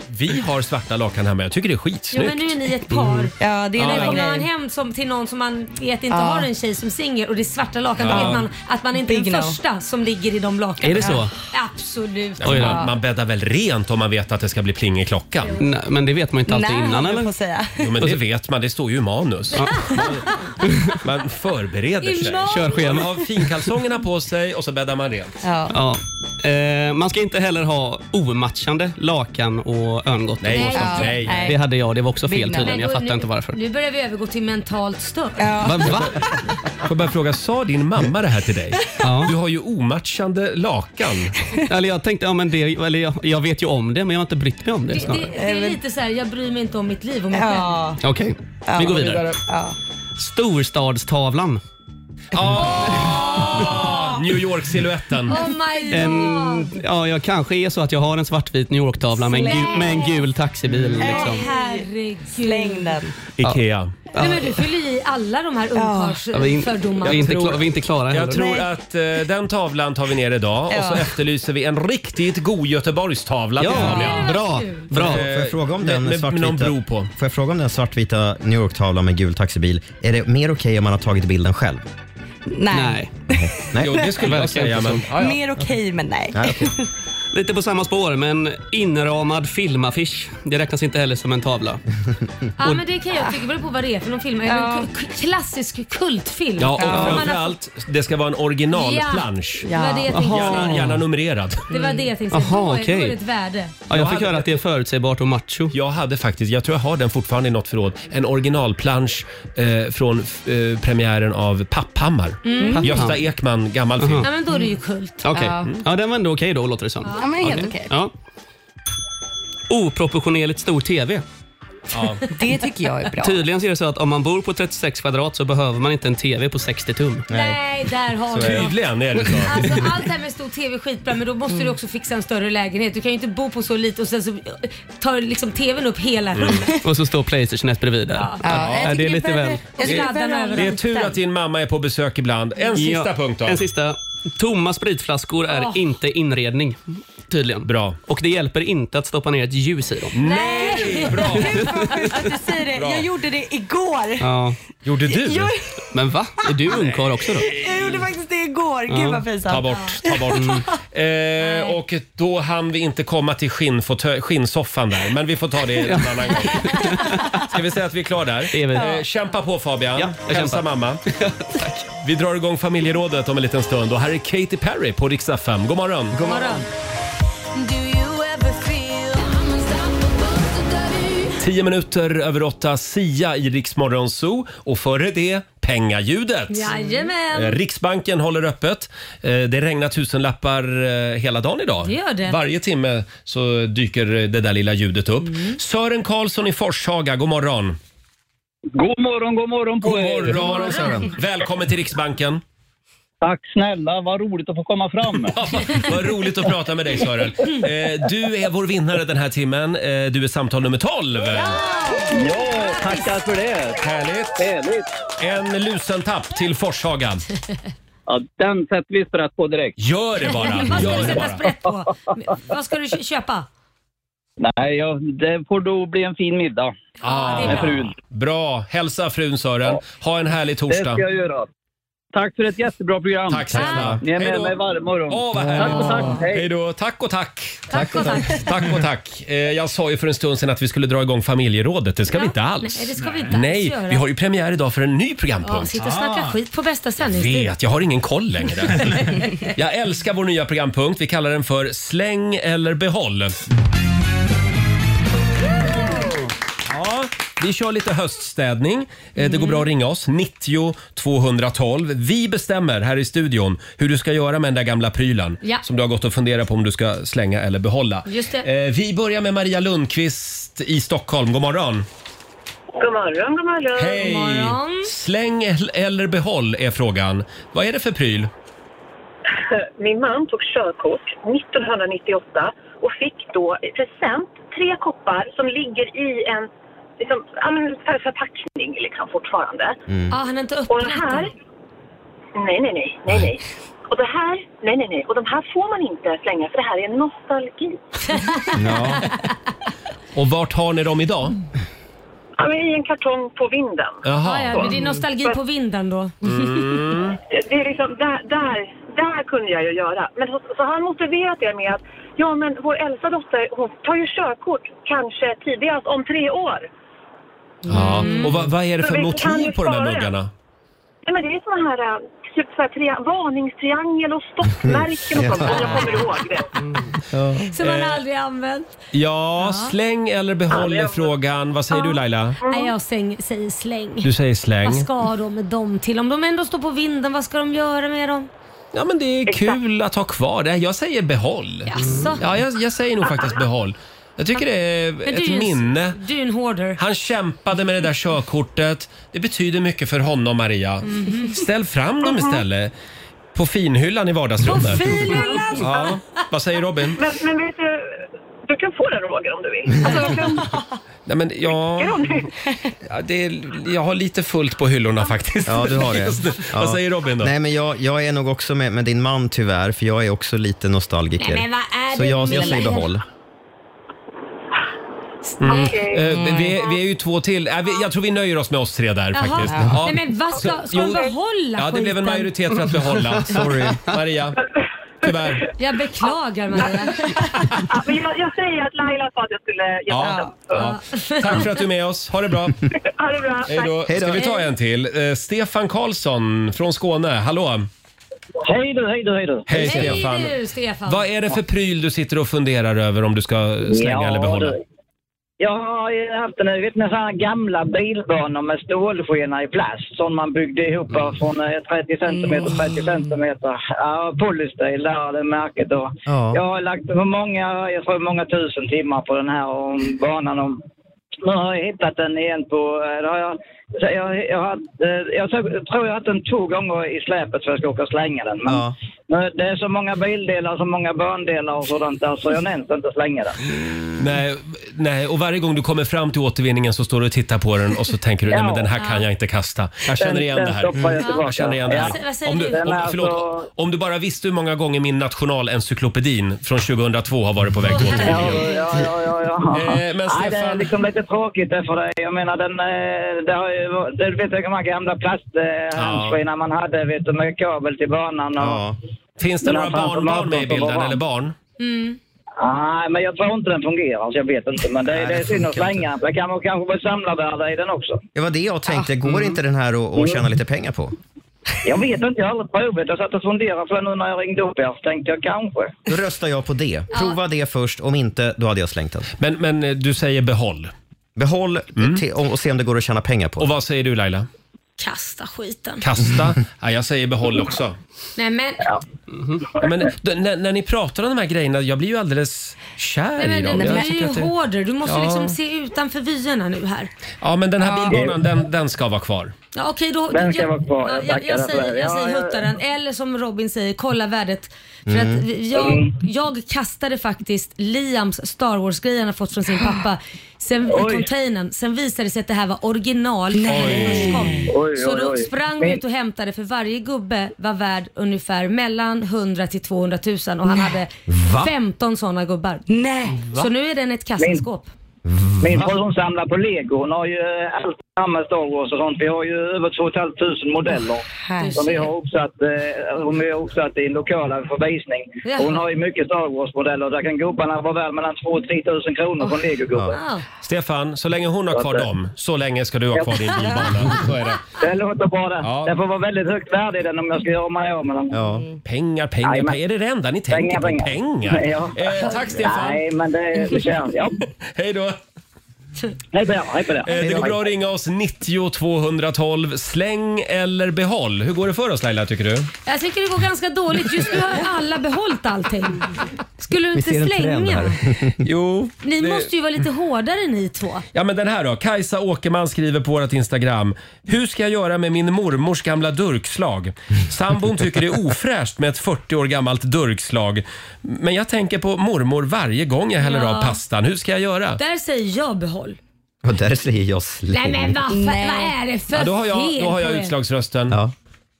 Vi har svarta lakan hemma. Jag tycker det är Jo skitsnyggt. men nu är ni ett par. Mm. Ja, det är en Men annan kommer grej. man hem som, till någon som man vet inte Ja. har en tjej som singel och det är svarta lakan Ja. då vet man att man inte är Big den no. första som ligger i de lakanen. Är det så? Absolut. Ja, men man, man bäddar väl rent om man vet att det ska bli pling i klockan? Nej, men det vet man ju inte alltid Nej, innan, eller? får säga. Jo, men det vet man. Det står ju i manus. Man förbereder I sig. manus. Kör schema. Man har finkalsongerna på sig och så bäddar man rent. Ja. Eh, man ska inte heller ha omatchande lakan och örngott. Nej, och sånt. nej, nej. Det hade jag. Det var också fel Big no. tydligen. Jag Men då- fattar inte nu, varför. nu börjar vi övergå till mentalt stört. Va? Va? Får jag bara fråga, sa din mamma det här till dig? Du har ju omatchande lakan. Eller jag tänkte, ja, men det, eller jag, jag vet ju om det, men jag har inte brytt mig om det. Det, det, snarare. Eh, det är lite så här, jag bryr mig inte om mitt liv och mitt ja. Okej, vi går vidare. Ja. Storstadstavlan. New York-siluetten. Oh my god. En, ja, jag kanske är så att jag har en svartvit New York-tavla med, en gu- med en gul Äh, taxibil. Liksom. Herregud. Släng den. Ikea. Nej, men du fyller i alla de här Ja, vi är in- ungkarlsfördomarna. vi är inte kla- vi är inte klara heller. Jag tror Nej. att eh, den tavlan tar vi ner idag och så Ja. efterlyser vi en riktigt god Göteborgstavla till Ja, Fabian. Eh, bra, Bra. Eh, Får jag fråga om med, den med, med svartvita... någon bro på. Får jag fråga om den svartvita New York-tavlan med gul taxibil? Är det mer okej om man har tagit bilden själv? Nej. Nej. Jo, det skulle jag säga, men... Mer okej, men nej. Lite på samma spår, men inramad filmaffisch. Det räknas inte heller som en tavla. Ja men det kan jag tycka, beror på vad det är för någon film. Är det en k- klassisk kultfilm? Ja, och Man har- framförallt, det ska vara en originalplansch. Ja, det var det jag tänkte Gärna, säga. gärna numrerad. Det var det jag tänkte säga. Aha, Då är- då är okej. det ett värde. Ja, jag fick höra att det är förutsägbart och macho. Jag hade faktiskt, jag tror jag har den fortfarande i något förråd, en originalplansch eh, från f- eh, premiären av Papphammar. Mm. Gösta Papphammar. Ekman, gammal film. Ja men då är det ju kult. Okej. Mm. Mm. Ja, den var ändå okej då, låter det som. Ja, men helt okej. Ja. Oproportionerligt stor TV. Det tycker jag är bra. Tydligen så är det så att om man bor på 36 kvadrat så behöver man inte en TV på 60 tum. Nej, där har Så är du det. något. Tydligen är det så. Alltså, allt det här med stor TV är skitbra men då måste du också fixa en större lägenhet. Du kan ju inte bo på så lite och sen så tar liksom TVn upp hela Mm. rummet. Och så står Playstation ett bredvid där. Ja, jag det tycker är lite det- väl... jag tycker det, den överallt det är tur där. att din mamma är på besök ibland. En sista Ja, punkt då. En sista. Tomma spritflaskor är Åh. inte inredning. Tydligen. Bra. Och det hjälper inte att stoppa ner ett ljus i dem. Nej, bra. Gud vad sjukt att du säger det. Bra. Jag gjorde det igår. Ja. Gjorde du? Jag- Men va? Är du ungkarl också då? Jag gjorde faktiskt det igår. Gud vad pinsamt. Ta bort, ta bort. Mm. Eh, och då hann vi inte komma till skinnfotö- skinnsoffan där, men vi får ta det en annan gång. Ska vi säga att vi är klara där? är vi. Eh, kämpa på Fabian, Ja, jag hälsa kämpar. mamma. Vi drar igång familjerådet om en liten stund och här är Katy Perry på riksdag 5. God morgon! God morgon. Tio minuter över åtta, Sia i Rix Morgon Zoo och före det pengaljudet. Jajamän. Eh, Riksbanken håller öppet. Eh, Det regnar tusenlappar eh, hela dagen idag. Det gör det. Varje timme så dyker eh, det där lilla ljudet upp. Mm. Sören Karlsson i Forshaga, god morgon. God morgon, god morgon på er. God morgon, Sören. Välkommen till Riksbanken. Tack snälla, vad roligt att få komma fram. Vad roligt att prata med dig Sören. Eh, Du är vår vinnare den här timmen. Eh, Du är samtal nummer 12. Ja, tackar för det. Härligt. En lusentapp till Forshaga. Ja, den sätter vi sprätt på direkt. Gör det bara! Vad ska Gör du det sätta bara. sprätt på? Vad ska du kö- köpa? Nej, ja, det får då bli en fin middag. Ah, Med frun. Bra! Hälsa frun Sören. Ha en härlig Det torsdag. ska jag göra. Tack för ett jättebra program. Tack snälla. Ni är Hej med då. mig varje morgon. Åh, vad tack härligt. och tack. Hej. Hej då. Tack och tack. Tack och tack. Tack och tack. Eh, Jag sa ju för en stund sedan att vi skulle dra igång familjerådet. Det ska vi inte alls. Nej, det ska vi inte alls Nej, göra. vi har ju premiär idag för en ny Ja, programpunkt. sitta och snacka skit på bästa sändningstid. Vet, jag har ingen koll längre. Jag älskar vår nya programpunkt. Vi kallar den för Släng eller behåll. Ja, vi kör lite höststädning. Eh, Det går bra att ringa oss, 90 212. Vi bestämmer här i studion hur du ska göra med den där gamla prylen Ja. som du har gått och funderat på om du ska slänga eller behålla. Just det. Eh, Vi börjar med Maria Lundqvist i Stockholm. God morgon! God morgon, god morgon. Hej! Släng el- eller behåll är frågan. Vad är det för pryl? Min man tog körkort 1998 och fick då i present tre koppar som ligger i en liksom, ja, men för förpackning liksom fortfarande. Mm. Ah, han har inte Och den här... Nej, nej, nej, nej, nej. Och det här, nej, nej, nej. Och de här får man inte slänga för det här är nostalgi. Ja. Och vart har ni dem idag? Ja, men I en kartong på vinden. Jaha. Ah, ja, men det är nostalgi på vinden då. Mm. Det är liksom, där, där, där kunde jag ju göra. Men så, så han motiverat det med att ja, men vår äldsta dotter hon tar ju körkort kanske tidigast om tre år. Ja. Och vad, vad är det Så för vi kan motiv ju på de här spara. muggarna? Nej, men det är såna här, äh, typ så här tria- varningstriangel och stoppmärken och sånt som jag kommer ihåg. Det. Mm. Som han Eh, aldrig har använt. Ja, släng eller behåll är frågan. Vad säger du Laila? Nej, jag säng, säger släng. Du säger släng. Vad ska de med dem till? Om de ändå står på vinden, vad ska de göra med dem? Ja, men det är kul att ha kvar det. Jag säger behåll. Mm. Jaså? Ja, jag, jag säger nog faktiskt behåll. Jag tycker det Men är du ett är ju en- minne. Du är en hoarder. Han kämpade med det där körkortet. Det betyder mycket för honom, Maria. Mhm. Ställ fram dem istället. På finhyllan i vardagsrummet. Mm-hmm. På finhyllan? Ja. Vad säger Robin? Men, men vet du, du kan få den Roger om du vill. Alltså, jag kan, Nej, men jag, om du ja, det är, jag har lite fullt på hyllorna faktiskt. Ja, du har det. Just Ja. Vad säger Robin då? Nej, men jag, jag är nog också med, med din man tyvärr, för jag är också lite nostalgiker. Nej, men vad är Så det jag, med- jag säger behåll. Mm. Okej. Eh, vi, är- vi är ju två till. Äh, vi, jag tror vi nöjer oss med oss tre där Jaha. faktiskt. Nej, men vad ska, ska Jo. de behålla Ja, det blev en skiten? majoritet för att behålla. Sorry, Maria. Tyvärr. Jag beklagar Maria. Ja, men jag, jag säger att Laila sa att jag skulle ge bort den. Ja, ja. Tack för att du är med oss. Ha det bra. Ha det bra. Hej då. Ska vi ta en till? Eh, Stefan Karlsson från Skåne. Hallå! Hej du, hej du, hej du. Hej, Stefan. du Stefan. Vad är det för pryl du sitter och funderar över om du ska slänga Ja, eller behålla? du. Jag har ju haft en, vet ni, sådana här gamla bilbanor med stålskena i plast som man byggde ihop av från eh, 30 centimeter, 30 centimeter. Ja, polystyrel där, det märket då. Ja. Jag har lagt på många, jag tror många tusen timmar på den här och banan. Och nu har jag hittat den igen på, eh, då har jag, så jag, jag, har, eh, jag tror jag har haft den två gånger i släpet för jag ska åka och slänga den. Men nu, det är så många bildelar, så många bandelar och sådant där så jag nämns inte slänga den. Nej, nej, och varje gång du kommer fram till återvinningen så står du och tittar på den och så tänker du nej men den här kan jag inte kasta. Jag känner Den- igen den det här. stoppar jag tillbaka. jag känner igen det här. Ja. Vad säger Om, du, du? Den om, är förlåt, alltså- om du bara visste hur många gånger min nationalencyklopedin från 2002 har varit på väg till Ja, återvinningen. ja, ja, ja, ja. Eh, men Nej, det är Stefan- liksom lite tråkigt där för det. Jag menar, den, eh, det har ju, varit- det vet du, de här gamla plasthandskarna man hade, vet du, med kabel till banan och... Finns det några Men framför barnbarn med i maten som var bilden varm. eller barn? Nej, men jag tror inte den fungerar, så jag vet inte. Men det, Nej, det är det synd att funkar slänga den, för det kan vara kanske vara samlarvärde i den också. Det var det jag tänkte. Går inte den här att att tjäna lite pengar på? Jag vet inte, jag har aldrig provat. Jag satt och funderade på det nu när jag ringde upp er, så tänkte jag kanske. Då röstar jag på det. Prova det först. Om inte, då hade jag slängt den. Men, men eh, du säger behåll. Mm. Behåll till, och, och se om det går att tjäna pengar på. Och vad säger du Laila? Kasta skiten. Kasta? Ja, jag säger behåll också. Nej men, Ja, men, d- när, när ni pratar om de här grejerna, jag blir ju alldeles kär nej, i men dem. du Jag är tycker ju att det- hoarder. Du måste Ja. liksom se utanför vyerna nu här. Ja, men den här Ja. bilbanan, den, den ska vara kvar. Ja, okej, då, Den ska jag- vara kvar. Jag ja, Jag, tackar jag, för säger, det. jag Ja, säger jag- hutta den. Eller som Robin säger, kolla värdet. För Mm. att vi- jag, Mm. jag kastade faktiskt Liams Star Wars-grej han har fått från sin Ah. pappa sen, i Oj. containern. Sen visade det sig att det här var original. Oj. Oj, Så oj, då oj. sprang vi Men- ut och hämtade för varje gubbe var värd ungefär mellan 100 till 200 000 och han hade Va? 15 sådana gubbar. Nej. Så nu är den ett kassaskåp. Min fru hon samlar på lego. Hon har ju eh, allt samma Star Wars och sånt. Vi har ju över 2 500 modeller herregud. som vi har uppsatt, eh, som vi har uppsatt i en lokal för visning. Jaha. Och Hon har ju mycket Star Wars-modeller. Där kan gubbarna vara värd mellan 2 000 och 3 000 kronor från legogubben. Ja. Stefan, så länge hon har kvar dem, så länge ska du ha kvar din bilbana. Så är det. Det låter bra det. Den får vara väldigt högt värde i den om jag ska göra mig av med den. Ja. Pengar, pengar, Jajamän. pengar. Är det det enda ni tänker på? Pengar? Eh, tack Stefan. Nej, men det, det känns... Ja. Hej då. Hej på er, hej på er. Eh, Det går bra att ringa oss 90 212. Släng eller behåll. Hur går det för oss Laila tycker du? Jag tycker det går ganska dåligt. Just nu har alla behållit allting. Skulle du inte slänga? jo. Ni det- måste ju vara lite hårdare ni två. Ja men den här då. Kajsa Åkerman skriver på vårt Instagram. Hur ska jag göra med min mormors gamla durkslag? Sambon tycker det är ofräscht med ett 40 år gammalt durkslag. Men jag tänker på mormor varje gång jag häller Ja. av pastan. Hur ska jag göra? Där säger jag behåll. Och där säger jag släng. Nej men vad, fan- Nej. vad är det för Ja, då har jag, fel då har jag på er? utslagsrösten.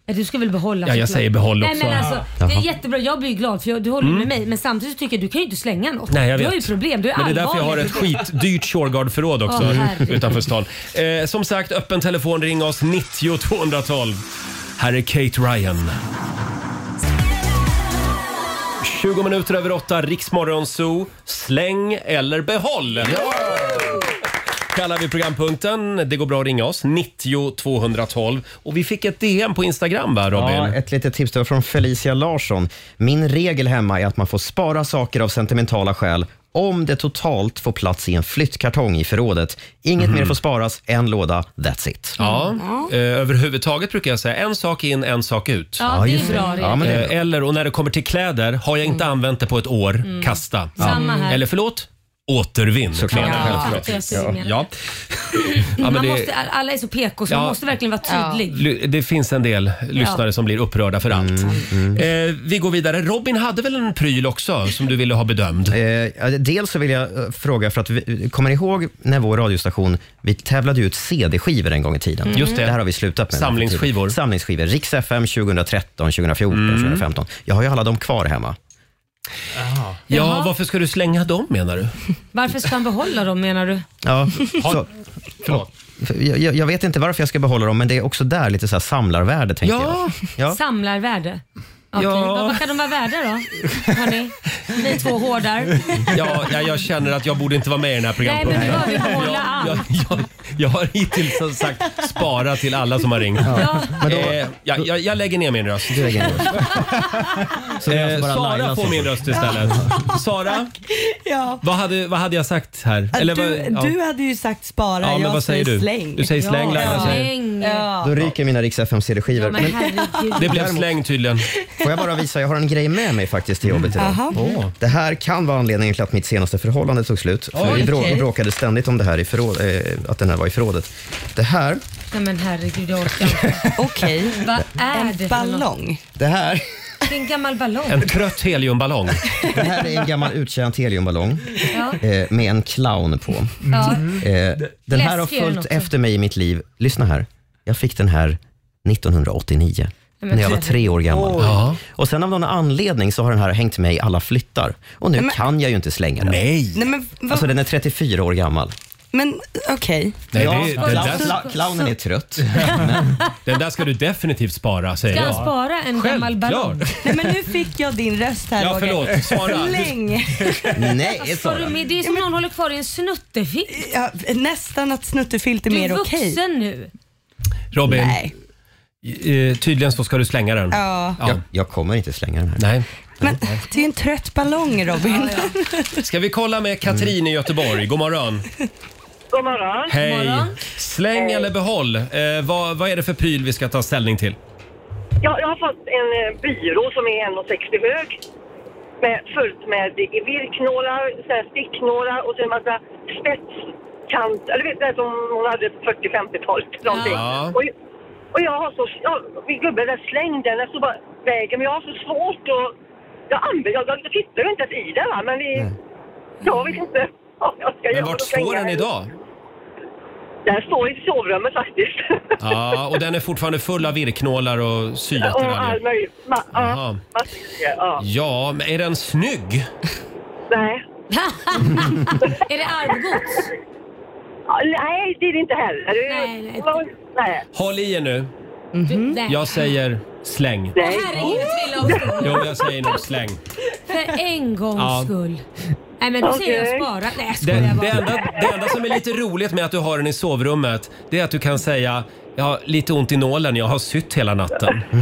Ja, du ska väl behålla Ja, jag såklart. säger behåll Nej, också. men alltså, Ja. Det är Jaha. jättebra, jag blir glad för jag, du håller ju Mm. med mig men samtidigt tycker jag du kan ju inte slänga något. Nej, jag vet. Du har ju problem, du är Men det är därför jag har allvarlig. ett skitdyrt Shurgard-förråd också Åh, herregud. utanför stan. Eh, som sagt, öppen telefon. Ring oss 90 212. Här är Kate Ryan. 20 minuter över 8, Riksmorgon Zoo. Släng eller behåll! kallar vi programpunkten. Det går bra att ringa oss, 90 212. Och vi fick ett DM på Instagram va, Robin? Ja, ett litet tips det var från Felicia Larsson. Min regel hemma är att man får spara saker av sentimentala skäl om det totalt får plats i en flyttkartong i förrådet. Inget Mhm. mer får sparas, en låda, that's it. Ja, eh, överhuvudtaget brukar jag säga en sak in, en sak ut. Ja, Ja, det är just det. bra regler. Ja, men det är Eh, Eller, och när det kommer till kläder, har jag inte använt det på ett år, Mm. kasta. Samma här. Eller förlåt, återvinn. Såklart, kläder. Ja, självklart. Ja. precis, jag menar. Ja. Ja, men man det- måste, alla är så PK så Ja. man måste verkligen vara tydlig. Ly- Det finns en del lyssnare som blir upprörda för allt. Mm, Eh, vi går vidare. Robin hade väl en pryl också som du ville ha bedömd? Eh, dels så vill jag eh, fråga, för att vi, kommer ni ihåg när vår radiostation, vi tävlade ut CD-skivor en gång i tiden. Mm. Just det. det här har vi slutat med. Samlingsskivor. Samlingsskivor. Riks FM 2013, 2014, Mm. 2015. Jag har ju alla dem kvar hemma. Ja, varför ska du slänga dem menar du? Varför ska man behålla dem menar du? Ja, så, jag, jag- jag vet inte varför jag ska behålla dem, men det är också där lite så här samlarvärde. Tänker Ja. jag. Ja. Samlarvärde. Okej, Ja. vad, vad kan de vara värda då? Hörni, ni två hårdar. Ja, jag, jag känner att jag borde inte vara med i den här Nej men programpunkten. nu har vi behålla Jag, allt. jag, jag har hittills som sagt sparat till alla som har ringt. Ja. Men då- eh, jag, jag, jag lägger ner min röst. lägger ner Så det är eh, alltså bara Laila Sara som får min får- röst istället. Sara, Ja. vad hade, vad hade jag sagt här? Att vad, du, ja. du hade ju sagt spara, Ja, men jag vad säger du? släng. Du säger släng, Laila säger- Ja. Då ryker mina Rix FM CD-skivor. Men- Det blev Däremot- släng tydligen. Får jag bara visa, jag har en grej med mig faktiskt till jobbet idag. Aha. Åh. Det här kan vara anledningen till att mitt senaste förhållande tog slut. För Oj, vi brå- okej. bråkade ständigt om det här i förråd, eh, att den här var i förrådet. Det här, Nej men herregud jag orkar inte. Okej. Vad är En det för ballong. något? det här, Det är en gammal ballong. En trött heliumballong. det här är en gammal uttjänt heliumballong Ja. eh, med en clown på. Ja. Mm. Eh, den här har Läskig är den följt också. efter mig i mitt liv. Lyssna här. Jag fick den här 1989. men När jag var gud. tre år gammal. Oj. Ja. Och sen av någon anledning så har den här hängt med i alla flyttar. Och nu Men- kan jag ju inte slänga den. Nej. Nej, men vad- Alltså den är 34 år gammal. Men okej. clownen är trött. Den där ska du definitivt spara säger Ska jag. han spara en gammal ballong? Nej, men nu fick jag din röst här Ja, Roger. förlåt. Svara. Släng. Nej, Vad sa du med? Det är som någon håller kvar i en snuttefilt. Ja, nästan att snuttefilt är Du mer är okej. vuxen nu. Robin, Nej. eh, tydligen så ska du slänga den. Ja. Jag, kommer inte slänga den här. Nej. Men det är en trött ballong Robin. Ska vi kolla med Katrin i Göteborg? God morgon. God morgon. Hej. Släng eller behåll. Eh, vad, vad är det för pryl vi ska ta ställning till? Jag, jag har fått en eh, byrå som är 1,60 hög. Med, fullt med virknålar, så här sticknålar och så en massa spetskant. Eller vet det som hon hade på 40-50-talet. Någonting. Ja. Och, och jag har så... Jag, min gubbe där slängde den efter bara vägen. Men jag har så svårt att... Jag, använder, jag, jag tittar ju inte ens i den va, men vi... Jag vet inte vad jag ska Men göra. vart Då slänger står jag den idag? Den står i sovrummet faktiskt. Ja, och den är fortfarande full av virknålar och och all syattiraljer. möjlig... Ma, ja, Jaha. massa grejer, ja. Ja, men är den snygg? Nej. är det arvgods? Nej, det är det inte heller. Det är- Nej, nej. Nej. Håll i er nu. Du, nej. Jag säger släng. Åh, herregud, jag trillade Jo, av stolen. jag säger nog släng. För en gångs Ja. skull. Nej men då säger jag Okej. spara. Nej jag Det, skojar det, bara. enda, det enda som är lite roligt med att du har den i sovrummet, det är att du kan säga jag har lite ont i nålen, jag har sytt hela natten. Ja,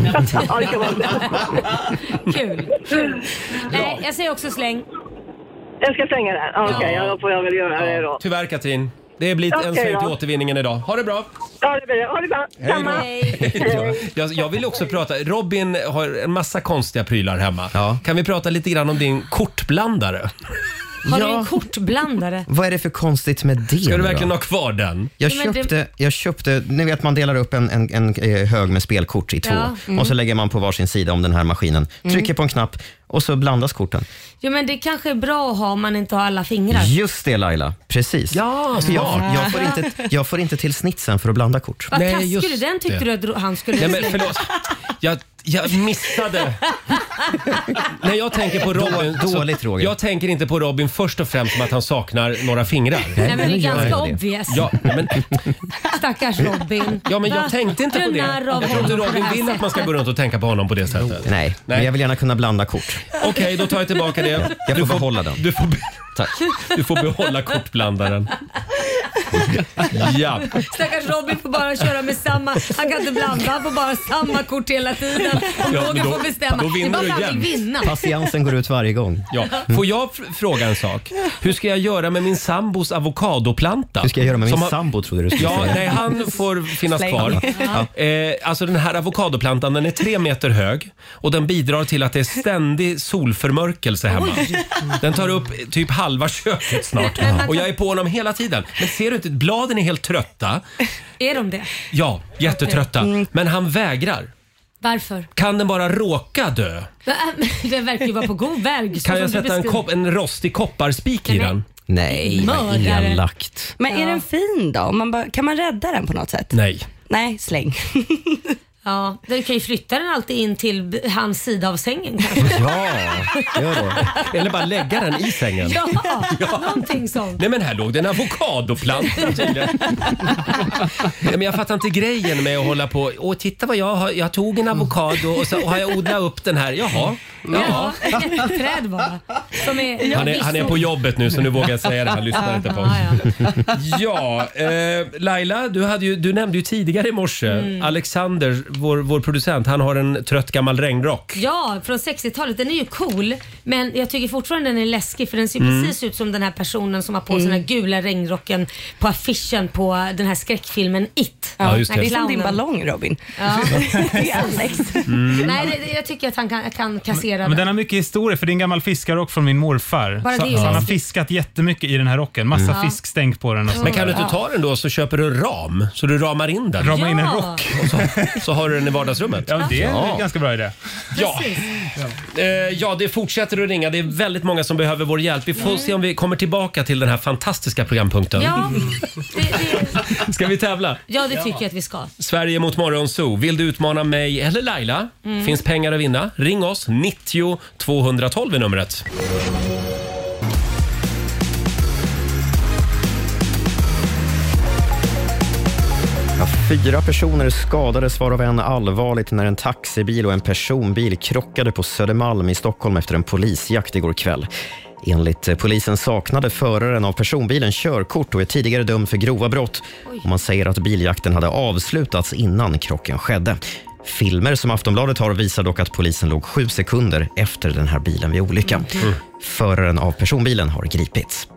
det kan man Kul. Nej, jag säger också släng. Jag ska slänga den. Ja, Okej, Ja. ja. då får jag väl göra det då. Tyvärr Katrin, det blir en Okej slut i då. återvinningen idag. Ha det bra! Ja, det blir det. Ha det bra. Hej då. Samma. Jag, jag vill också prata, Robin har en massa konstiga prylar hemma. Kan vi prata lite grann om din kortblandare? Har du Ja. en kortblandare? Vad är det för konstigt med det? Ska du då? verkligen ha Mm. kvar den? Jag Nej, men det- köpte, jag köpte, ni vet man delar upp en, en, en eh, hög med spelkort i två Ja, mm. och så lägger man på varsin sida om den här maskinen, Mm. trycker på en knapp och så blandas korten. Jo men det kanske är bra att ha om man inte har alla fingrar. Just det Laila, precis. Ja, För jag, smart. jag, får inte, jag får inte till snitsen för att blanda kort. Vad taskig du den tyckte du att dro- han skulle Nej, men slänga. förlåt. Jag, jag missade. Nej, jag tänker på Då- Robin. dåligt, Roger. Jag tänker inte på Robin först och främst som att han saknar några fingrar. Nej, men det är Nej, ganska gör det. obvious. Ja, men, Stackars Robin. ja, men jag tänkte inte på det. Jag tror inte Robin vill att man ska gå runt och tänka på honom på det sättet. Nej, men jag vill gärna kunna blanda kort. Okej, då tar jag tillbaka det. Jag Du får får- behålla den. Du får, be- Tack. du får behålla kortblandaren. Ja. Stackars Robin får bara köra med samma. Han kan inte blanda, han får bara samma kort hela tiden. Om Ja, Roger men då- får bestämma. då vinner det du är bara för att han igen. vill vinna. Patiensen går ut varje gång. Mm. Ja. Får jag fr- fråga en sak? Hur ska jag göra med min sambos avokadoplanta? Hur ska jag göra med min Som har- sambo trodde du skulle ja, säga. Nej, han får finnas Släng. kvar. Ja. Eh, alltså den här avokadoplantan den är tre meter hög och den bidrar till att det är ständig solförmörkelse hemma. Oj. Den tar upp typ halva köket snart Men man kan- och jag är på honom hela tiden. Men ser du inte, bladen är helt trötta. Är de det? Ja, jättetrötta. Mm. Men han vägrar. Varför? Kan den bara råka dö? Det verkar ju vara på god väg. så Kan som jag du sätta en, beskriver. kopp, en rostig kopparspik i den? Nej, vad Mördare. elakt. Men är den fin då? Om Man bara, kan man rädda den på något sätt? Nej. Nej, släng. Ja, du kan ju flytta den alltid in till b- hans sida av sängen kanske. Ja, gör det. Eller bara lägga den i sängen. Ja, någonting sånt. Nej men här låg det en avokadoplanta tydligen. Nej, men jag fattar inte grejen med att hålla på. Åh, titta vad jag har. Jag tog en avokado och så har jag odlat upp den här. Jaha. Ja. Ett träd bara. Som är, Han, är, han är på jobbet nu så nu vågar jag säga det. Han lyssnar inte på oss. Ja, eh, Laila, du, hade ju, du nämnde ju tidigare i morse Mm. Alexander, vår, vår producent, han har en trött gammal regnrock. Ja, från 60-talet. Den är ju cool, men jag tycker fortfarande den är läskig för den ser Mm. precis ut som den här personen som har på sig den Mm. här gula regnrocken på affischen på den här skräckfilmen It. Ja, just det. Den här Det är som din clownen. ballong, Robin. Ja. Det är Alex. Mm. Nej, det- det, jag tycker att han kan, kan kassera Men den har mycket historia, för det är en gammal fiskarrock från min morfar. Bara Så, det är så han har läskigt. fiskat jättemycket i den här rocken. Massa Mm. Ja. fiskstänk på den. Och Men kan du inte ta den då så köper du en ram så du ramar in den? Rama in en Ja. rock. Och så, så har du den i vardagsrummet. Ja, det är en ganska bra idé. Ja. Eh, ja, det fortsätter att ringa. Det är väldigt många som behöver vår hjälp. Vi får se om vi kommer tillbaka till den här fantastiska programpunkten. Mm. Ja, Ska vi tävla? ja, det tycker jag att vi ska. Sverige mot Morgonzoo. Vill du utmana mig eller Laila? Mm. Finns pengar att vinna? Ring oss. 90 212 är numret. Ja, fyra personer skadades varav en allvarligt när en taxibil och en personbil krockade på Södermalm i Stockholm efter en polisjakt igår kväll. Enligt eh, polisen saknade föraren av personbilen körkort och är tidigare dömd för grova brott. Och man säger att biljakten hade avslutats innan krocken skedde. Filmer som Aftonbladet har visar dock att polisen låg sju sekunder efter den här bilen vid olyckan. Föraren av personbilen har gripits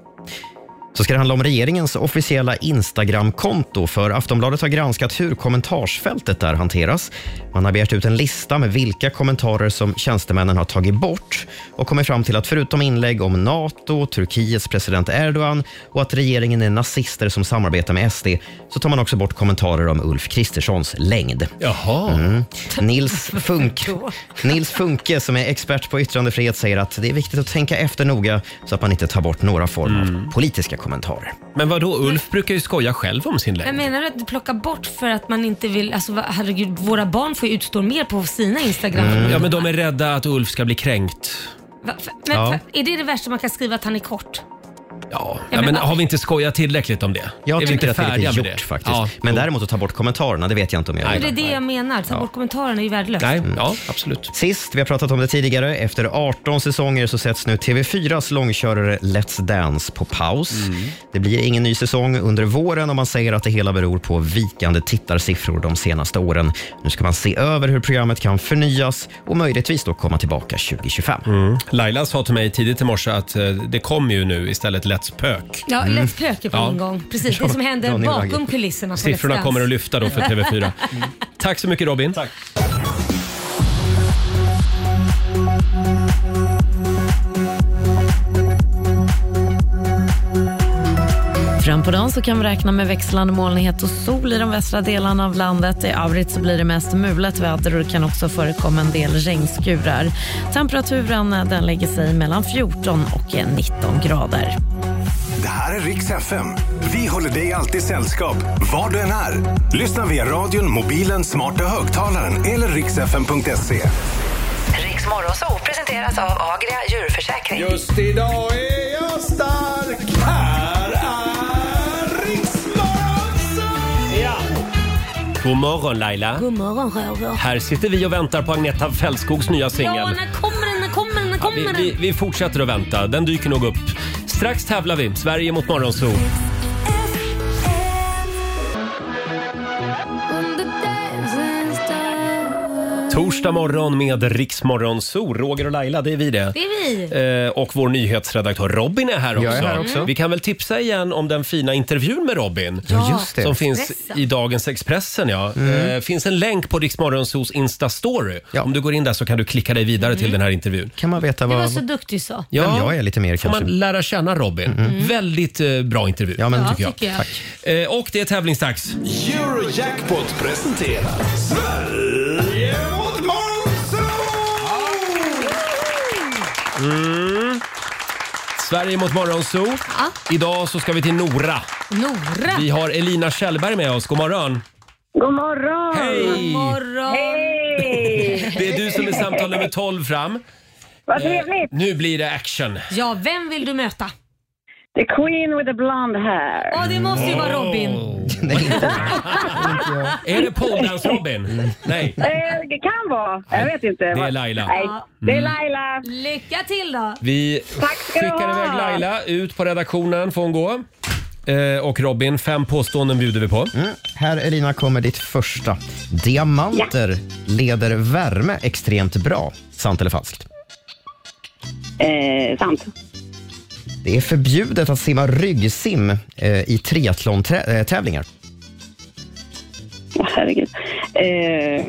så ska det handla om regeringens officiella Instagram-konto. För Aftonbladet har granskat hur kommentarsfältet där hanteras. Man har begärt ut en lista med vilka kommentarer som tjänstemännen har tagit bort och kommit fram till att förutom inlägg om Nato, Turkiets president Erdogan och att regeringen är nazister som samarbetar med SD så tar man också bort kommentarer om Ulf Kristerssons längd. Jaha. Mm. Nils, Funk, Nils Funke som är expert på yttrandefrihet säger att det är viktigt att tänka efter noga så att man inte tar bort några form Mm. av politiska kommentarer. Men vad då? Ulf brukar ju skoja själv om sin Jag menar du att du plockar bort för att man inte vill, alltså vad- herregud, våra barn får ju utstå mer på sina Instagram. Mm. Ja, men de är rädda att Ulf ska bli kränkt. Va, för, men, Ja. för, är det det värsta man kan skriva att han är kort? Ja, Ja, men, men- har vi inte skojat tillräckligt om det? Jag Är vi tycker inte att det är färdiga lite med gjort det? faktiskt. Ja. Men däremot att ta bort kommentarerna, det vet jag inte om jag Men gör. det är det jag menar, ta bort kommentarerna är ju värdelöst. Nej, ja, absolut. Mm. Sist, vi har pratat om det tidigare, efter 18 säsonger så sätts nu TV4s långkörare Let's Dance på paus. Mm. Det blir ingen ny säsong under våren och man säger att det hela beror på vikande tittarsiffror de senaste åren. Nu ska man se över hur programmet kan förnyas och möjligtvis då komma tillbaka 2025. Laila sa till mig tidigt i morse att eh, det kommer ju nu istället Let's Pök. Ja, Mm. Let's Pöke på Ja. en gång. Precis, det Ja, som händer Daniel Ragge. bakom kulisserna på Let's Siffrorna Dance. kommer att lyfta då för TV4. Tack så mycket Robin. Tack. Fram på dagen så kan vi räkna med växlande molnighet och sol i de västra delarna av landet. I övrigt så blir det mest mulet väder och det kan också förekomma en del regnskurar. Temperaturen eh, den lägger sig mellan 14 och eh, 19 grader. Det här är Rix FM. Vi håller dig alltid sällskap, var du än är. Lyssna via radion, mobilen, smarta högtalaren eller riksfm.se. Riks Morgonzoo presenteras av Agria djurförsäkring. Just idag är jag stark. Här är Riksmorgon ja. God morgon Laila. God morgon Roger. Här sitter vi och väntar på Agneta Fältskogs nya Ja, singel. när kommer den? När kommer den? När kommer Vi, den? vi, vi fortsätter att vänta. Den dyker nog upp. Strax tävlar vi. Sverige mot Morgonzoo. Torsdag morgon med Riksmorgonzoo. Roger och Laila, det är vi det. Det är vi. Eh, och vår nyhetsredaktör Robin är här Jag också. är här också. Vi kan väl tipsa igen om den fina intervjun med Robin. Ja, just det. Som finns Expressen. i dagens Expressen. Ja. Mm. Eh, finns en länk på Riksmorgonsos Insta-story. Om du går in där så kan du klicka dig vidare till den här intervjun. Kan man veta Du Mm. var vad... så duktig så. Vem jag är lite mer Får kanske. man lära känna Robin. Väldigt eh, bra intervju. Ja, men- Ja, tycker jag. Tack. Eh, och det är tävlingsdags. Eurojackpot presenterar Sverige mot Mm. Sverige mot Morgonzoo. Idag så ska vi till Nora. Nora. Vi har Elina Kjellberg med oss. God morgon. God morgon! Hej! God morgon! Hej! Det är du som är samtal nummer 12 fram. Vad Eh, trevligt! Nu blir det action. Ja, vem vill du möta? The Queen with the blonde hair. Ja, det måste ju vara Robin. Är det poledance-Robin? Nej. Eh, det kan vara. Jag vet inte. Det är Laila. Nej, det är Mm. Laila. Lycka till då! Vi du skickar ha. iväg Laila ut på redaktionen. Får hon gå. Eh, och Robin, fem påståenden bjuder vi på. Här Elina kommer ditt första. Diamanter leder värme extremt bra. Sant eller falskt? Eh, sant. Det är förbjudet att simma ryggsim eh, i eh, triathlon-tävlingar. Åh, herregud. Eh, eh,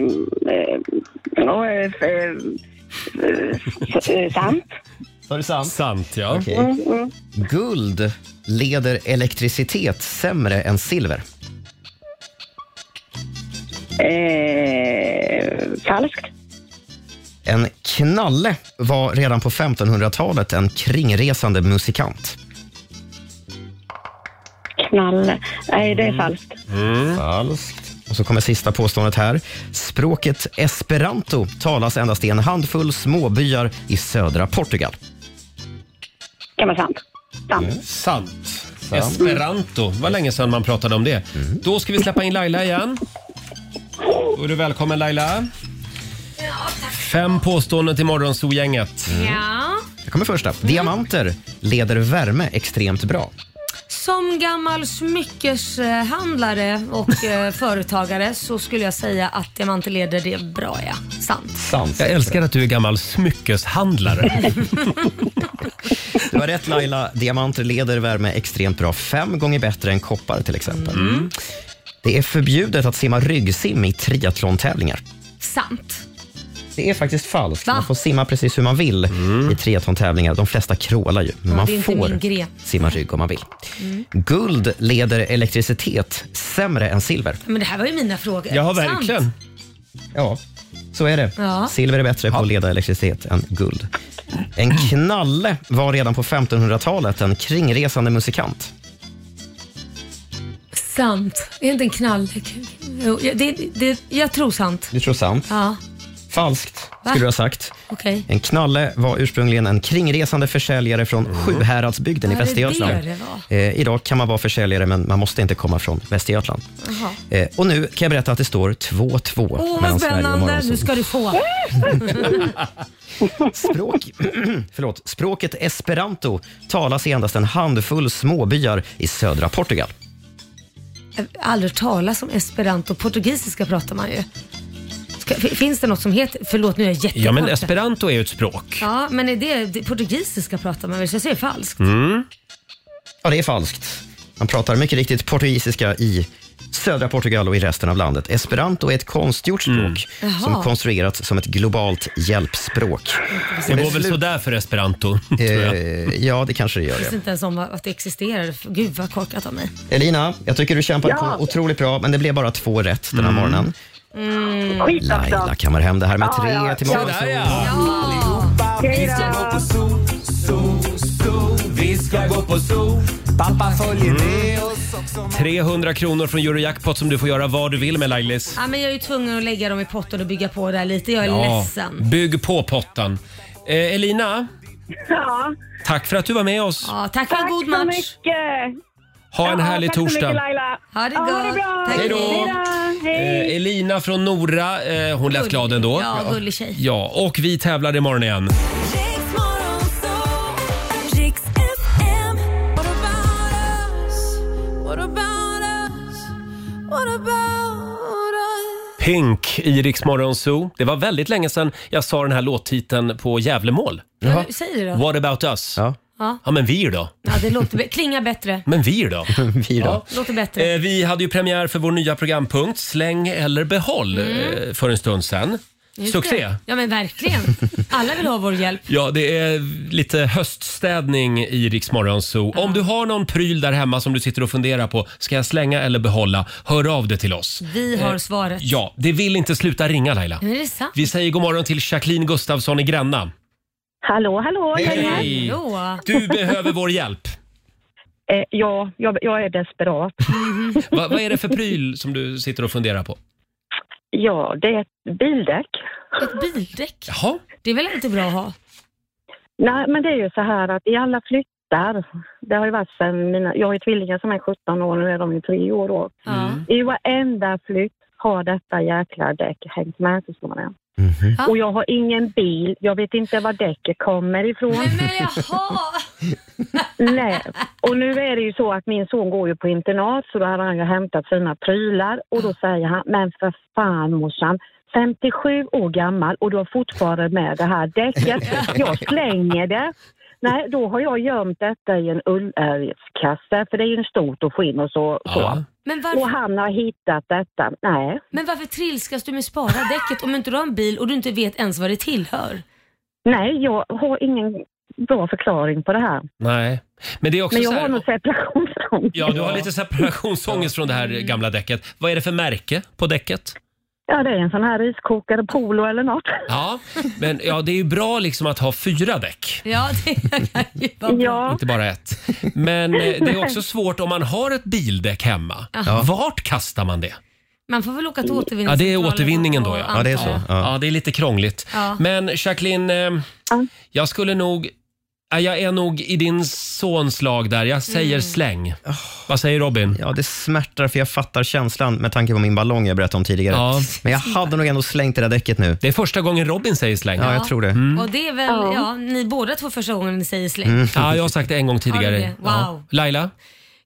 ja, eh, eh, eh, sant. Sa du sant? Sant, ja. Mm, mm. Guld leder elektricitet sämre än silver. Eh, falskt. En knalle var redan på 1500-talet en kringresande musikant. Knalle. Nej, det är falskt. Mm. Falskt. Och så kommer sista påståendet här. Språket esperanto talas endast i en handfull småbyar i södra Portugal. Kan vara sant. Sant. Sant. Esperanto. Vad länge sedan man pratade om det. Då ska vi släppa in Laila igen. Då är du välkommen Laila. Fem påståenden till Morgonzoo-gänget. Ja. Här kommer första. Diamanter leder värme extremt bra. Som gammal smyckeshandlare och eh, företagare så skulle jag säga att diamanter leder det bra ja. Sant. Sant. Jag älskar att du är gammal smyckeshandlare. Du har rätt Laila. Diamanter leder värme extremt bra. Fem gånger bättre än koppar till exempel. Mm. Det är förbjudet att simma ryggsim i triathlon-tävlingar. Sant. Det är faktiskt falskt. Va? Man får simma precis hur man vill i triathlon-tävlingar. De flesta crawlar ju, men Mm. Ja, man det är inte min får gren. simma rygg om man vill. Mm. Guld leder elektricitet sämre än silver. Men det här var ju mina frågor. Sant. Ja, så är det. Ja. Silver är bättre på att leda elektricitet än guld. En knalle var redan på 1500-talet en kringresande musikant. Sant. Det är inte en knall. Jo, jag- Det, det, jag tror sant. Du tror sant? Ja, Falskt, Va? skulle du ha sagt. okej. En knalle var ursprungligen en kringresande försäljare från Sjuhäradsbygden i Ja, det är Västergötland. det det var. Eh, idag kan man vara försäljare, men man måste inte komma från Västergötland. Jaha. Eh, och nu kan jag berätta att det står 2-2 Åh, vad mellan Sverige och spännande. Morgonzoo. Nu ska du få. Språk, Mm. förlåt, språket esperanto talas i endast en handfull småbyar i södra Portugal. Jag har aldrig talas om esperanto. Portugisiska pratar man ju. Ska, fi- finns det något som heter... Förlåt, nu är jag jättekorkad. Ja, men esperanto är ju ett språk. Ja, men är det, det portugisiska pratar man väl? Så jag säger falskt. Mm. Ja, det är falskt. Man pratar mycket riktigt portugisiska i södra Portugal och i resten av landet. Esperanto är ett konstgjort språk Mm. Jaha. som konstruerats som ett globalt hjälpspråk. Det går väl sådär för esperanto, tror jag. Eh, Ja, det kanske det gör. Jag ja. visste inte ens om att det existerade. Gud vad korkat av mig. Elina, jag tycker du kämpade Ja. på otroligt bra, men det blev bara två rätt den här morgonen. Mm. Laila kammar hem det här med tre till morgon. Vi ska gå på zoo, zoo, zoo. Vi ska gå på zoo. Pappa följer med oss också. 300 Mm. kronor från Eurojackpot som du får göra vad du vill med Lailis. Ja, men jag är ju tvungen att lägga dem i potten och bygga på där lite. Jag är ledsen. bygg på potten. Eh, Elina, Ja. tack för att du var med oss. Ja, tack för en god match. Tack så mycket. Ha en härlig torsdag. Laila. Ha det Ja, gott. ha det bra. Tack. Hej då. Hej då. Eh, Elina från Nora, eh, hon lät Gullig. glad ändå. Ja, gullig tjej. Ja, och vi tävlar imorgon igen. Pink i Rix Morgon Zoo. Det var väldigt länge sedan jag sa den här låttiteln på Gävlemål. Ja, du- säg det då. What about us? Ja. Ja. men vi då? ja, det låter be- klingar bättre. Men vi då? vi Ja, låter bättre. Eh, vi hade ju premiär för vår nya programpunkt Släng eller behåll Mm. eh, för en stund sedan. Just Succé! det. Ja, men verkligen. Alla vill ha vår hjälp. Ja, det är lite höststädning i Rix Morgon Zoo. Om du har någon pryl där hemma som du sitter och funderar på, ska jag slänga eller behålla? Hör av dig till oss. Vi har Eh, svaret. Ja, det vill inte sluta ringa Laila. Men Är det sant? Vi säger god morgon till Jacqueline Gustafsson i Gränna. Hallå, hallå. Hej. Hej. Du behöver vår hjälp. Eh, ja, jag, jag är desperat. Va, vad är det för pryl som du sitter och funderar på? Ja, det är ett bildäck. Ett bildäck? Jaha. Det är väl inte bra att ha? Nej, men det är ju så här att i alla flyttar, det har ju varit sen mina, jag har ju tvillingar som är 17 år, nu är de ju tre år då. Mm. I varenda flytt har detta jäkla däck hängt med så småningom. Och jag har ingen bil, jag vet inte var däcket kommer ifrån. Nej, och nu är det ju så att min son går ju på internat så då hade han ju hämtat sina prylar och då säger han, men för fan morsan, 57 år gammal och du har fortfarande med det här däcket. Jag slänger det. Nej, då har jag gömt detta i en ullärgskasse för det är ju en stort och skinn och så. så. Men varför- Och han har hittat detta. Nej. Men varför trilskas du med spara däcket om inte du har en bil och du inte vet ens vad det tillhör? Nej, jag har ingen bra förklaring på det här. Nej, men det är också Men jag så här, har nog separationsångest. Ja, du har lite separationsångest från det här Mm. gamla däcket. Vad är det för märke på däcket? Ja, det är en sån här iskokare polo eller något. Ja, men ja, det är ju bra liksom att ha fyra däck, Ja, det kan ju vara bra. inte bara ett. Men eh, det är också svårt om man har ett bildäck hemma. Ja. Vart kastar man det? Man får väl åka till återvinning. Ja, det är återvinningen då ja. Ja, det är så. Ja, det är lite krångligt. Ja. Men Jacqueline, eh, jag skulle nog... ja, Jag är nog i din sons lag där. Jag säger Mm. släng. Vad säger Robin? Ja, det smärtar för jag fattar känslan med tanke på min ballong jag berättade om tidigare. Men jag hade nog ändå slängt det där däcket nu. Det är första gången Robin säger släng. Ja, jag tror det. Mm. Och det är väl, ja. ni båda två första gången ni säger släng. Ja, jag har sagt det en gång Har du tidigare. det? Wow. Ja. Laila?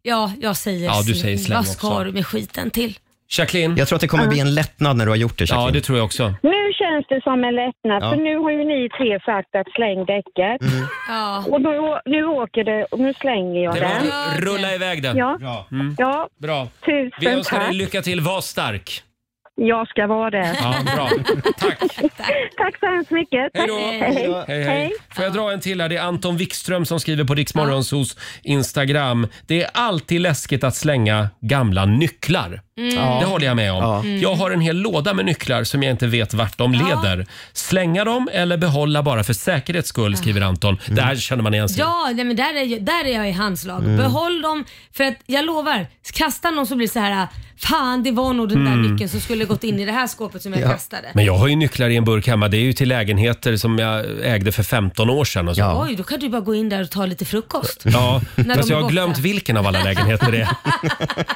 Ja, jag säger Ja, du säger släng Vad ska också. du med skiten till? Jacqueline? Jag tror att det kommer bli en lättnad när du har gjort det, Jacqueline. Ja, det tror jag också. Nu känns det som en lättnad, Ja. för nu har ju ni tre sagt att släng däcket. Och nu, å- nu åker det och nu slänger jag Det var- den. rulla iväg den. Ja. Bra. Mm. ja. Bra. Tusen Vi önskar dig tack. lycka till. Var stark. Jag ska vara det. Ja, bra. tack så hemskt mycket. Hej Tack. då! Hej. Hej, hej. Får jag dra en till här? Det är Anton Wikström som skriver på Riksmorgonsos Instagram. Det är alltid läskigt att slänga gamla nycklar. Mm. Ja. Det håller jag med om. Mm. Jag har en hel låda med nycklar som jag inte vet vart de leder. Slänga dem eller behålla bara för säkerhets skull, skriver Anton. Det här känner man igen sig i. Ja, nej, men där är, jag- där är jag i hans lag. Mm. Behåll dem, för att jag lovar, kastar någon så blir det så här, äh, fan det var nog den där Mm. nyckeln som skulle gått in i det här skåpet som jag kastade. Men jag har ju nycklar i en burk hemma. Det är ju till lägenheter som jag ägde för 15 år sedan. Och så. Oj, då kan du bara gå in där och ta lite frukost. Ja, När de fast är jag har borta. glömt vilken av alla lägenheter det är.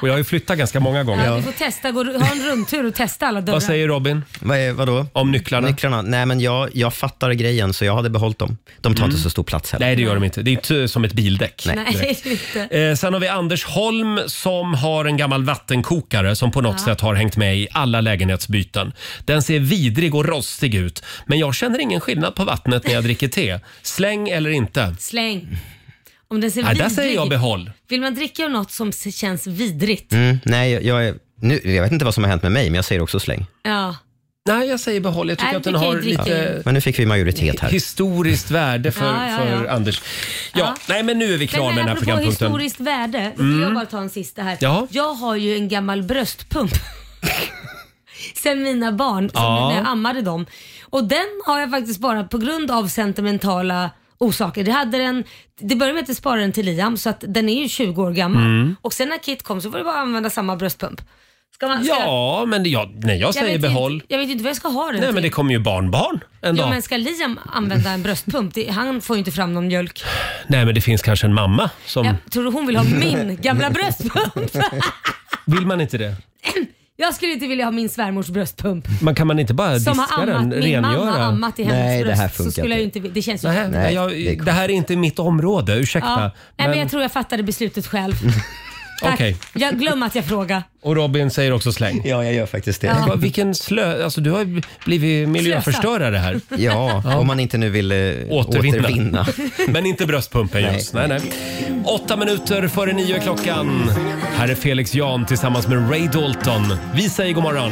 Och jag har ju flyttat ganska många gånger. Ja, du får testa, gå, ha en rumtur och testa alla dörrar. Vad säger Robin? Vad är, vadå? Om nycklarna? Nycklarna? Nej, men jag, jag fattar grejen, så jag hade behållit dem. De tar inte så stor plats heller. Mm. Nej, det gör de inte. Det är inte som ett bildäck. Nej, det är inte. Eh, sen har vi Anders Holm som har en gammal vattenkokare som på något Ja. sätt har hängt med i alla lägenhetsbyten. Den ser vidrig och rostig ut, men jag känner ingen skillnad på vattnet när jag dricker te. Släng eller inte? Släng. Om den ser Nej, där vidrig säger jag ut. behåll. Vill man dricka av något som se- känns vidrigt? Mm, nej, jag är Nu, jag vet inte vad som har hänt med mig, men jag säger också släng. Ja. Nej, jag säger behåll. Jag tycker Nej, att den det kan har jag inte riktigt. lite Men nu fick vi majoritet här. historiskt värde för, Ja, ja, ja. för Anders. Ja, nej men nu är vi klara med den här apropå programpunkten. historiskt värde, Mm. mm. jag bara ta en sista här. Jaha. Jag har ju en gammal bröstpump. Sen mina barn, som Ja. när jag ammade dem. Och den har jag faktiskt bara på grund av sentimentala orsaker. Det, hade den, det började med att jag sparade den till Liam så att den är ju 20 år gammal. Mm. Och sen när Kit kom så var det bara att använda samma bröstpump. Ska man, ska Ja, men det- jag, nej, jag säger vet behåll. Inte, jag vet inte vad jag ska ha den Nej, till. men det kommer ju barnbarn en ja, dag. men ska Liam använda en bröstpump? Det, han får ju inte fram någon mjölk. Nej, men det finns kanske en mamma som... Jag tror du hon vill ha min gamla bröstpump? Vill man inte det? Jag skulle inte vilja ha min svärmors bröstpump. Man, kan man inte bara Som diska har ammat, den, min rengöra? mamma har ammat i hennes Nej, det bröst. här så funkar skulle jag ju inte, det känns ju Nej, nej, jag, det, här är inte mitt område, ursäkta. Ja. Nej, men Men- jag tror jag fattade beslutet själv. Tack. Okej. Jag glömmer att jag frågade. Och Robin säger också släng. Ja, jag gör faktiskt det. Ja. Va, vilken slö... Alltså, du har ju blivit miljöförstörare här. Ja, om man inte nu vill eh, återvinna. Men inte bröstpumpen Nej. just. Nej, nej. Åtta minuter före nio är klockan. Här är Felix Jan tillsammans med Ray Dalton. Vi säger god morgon.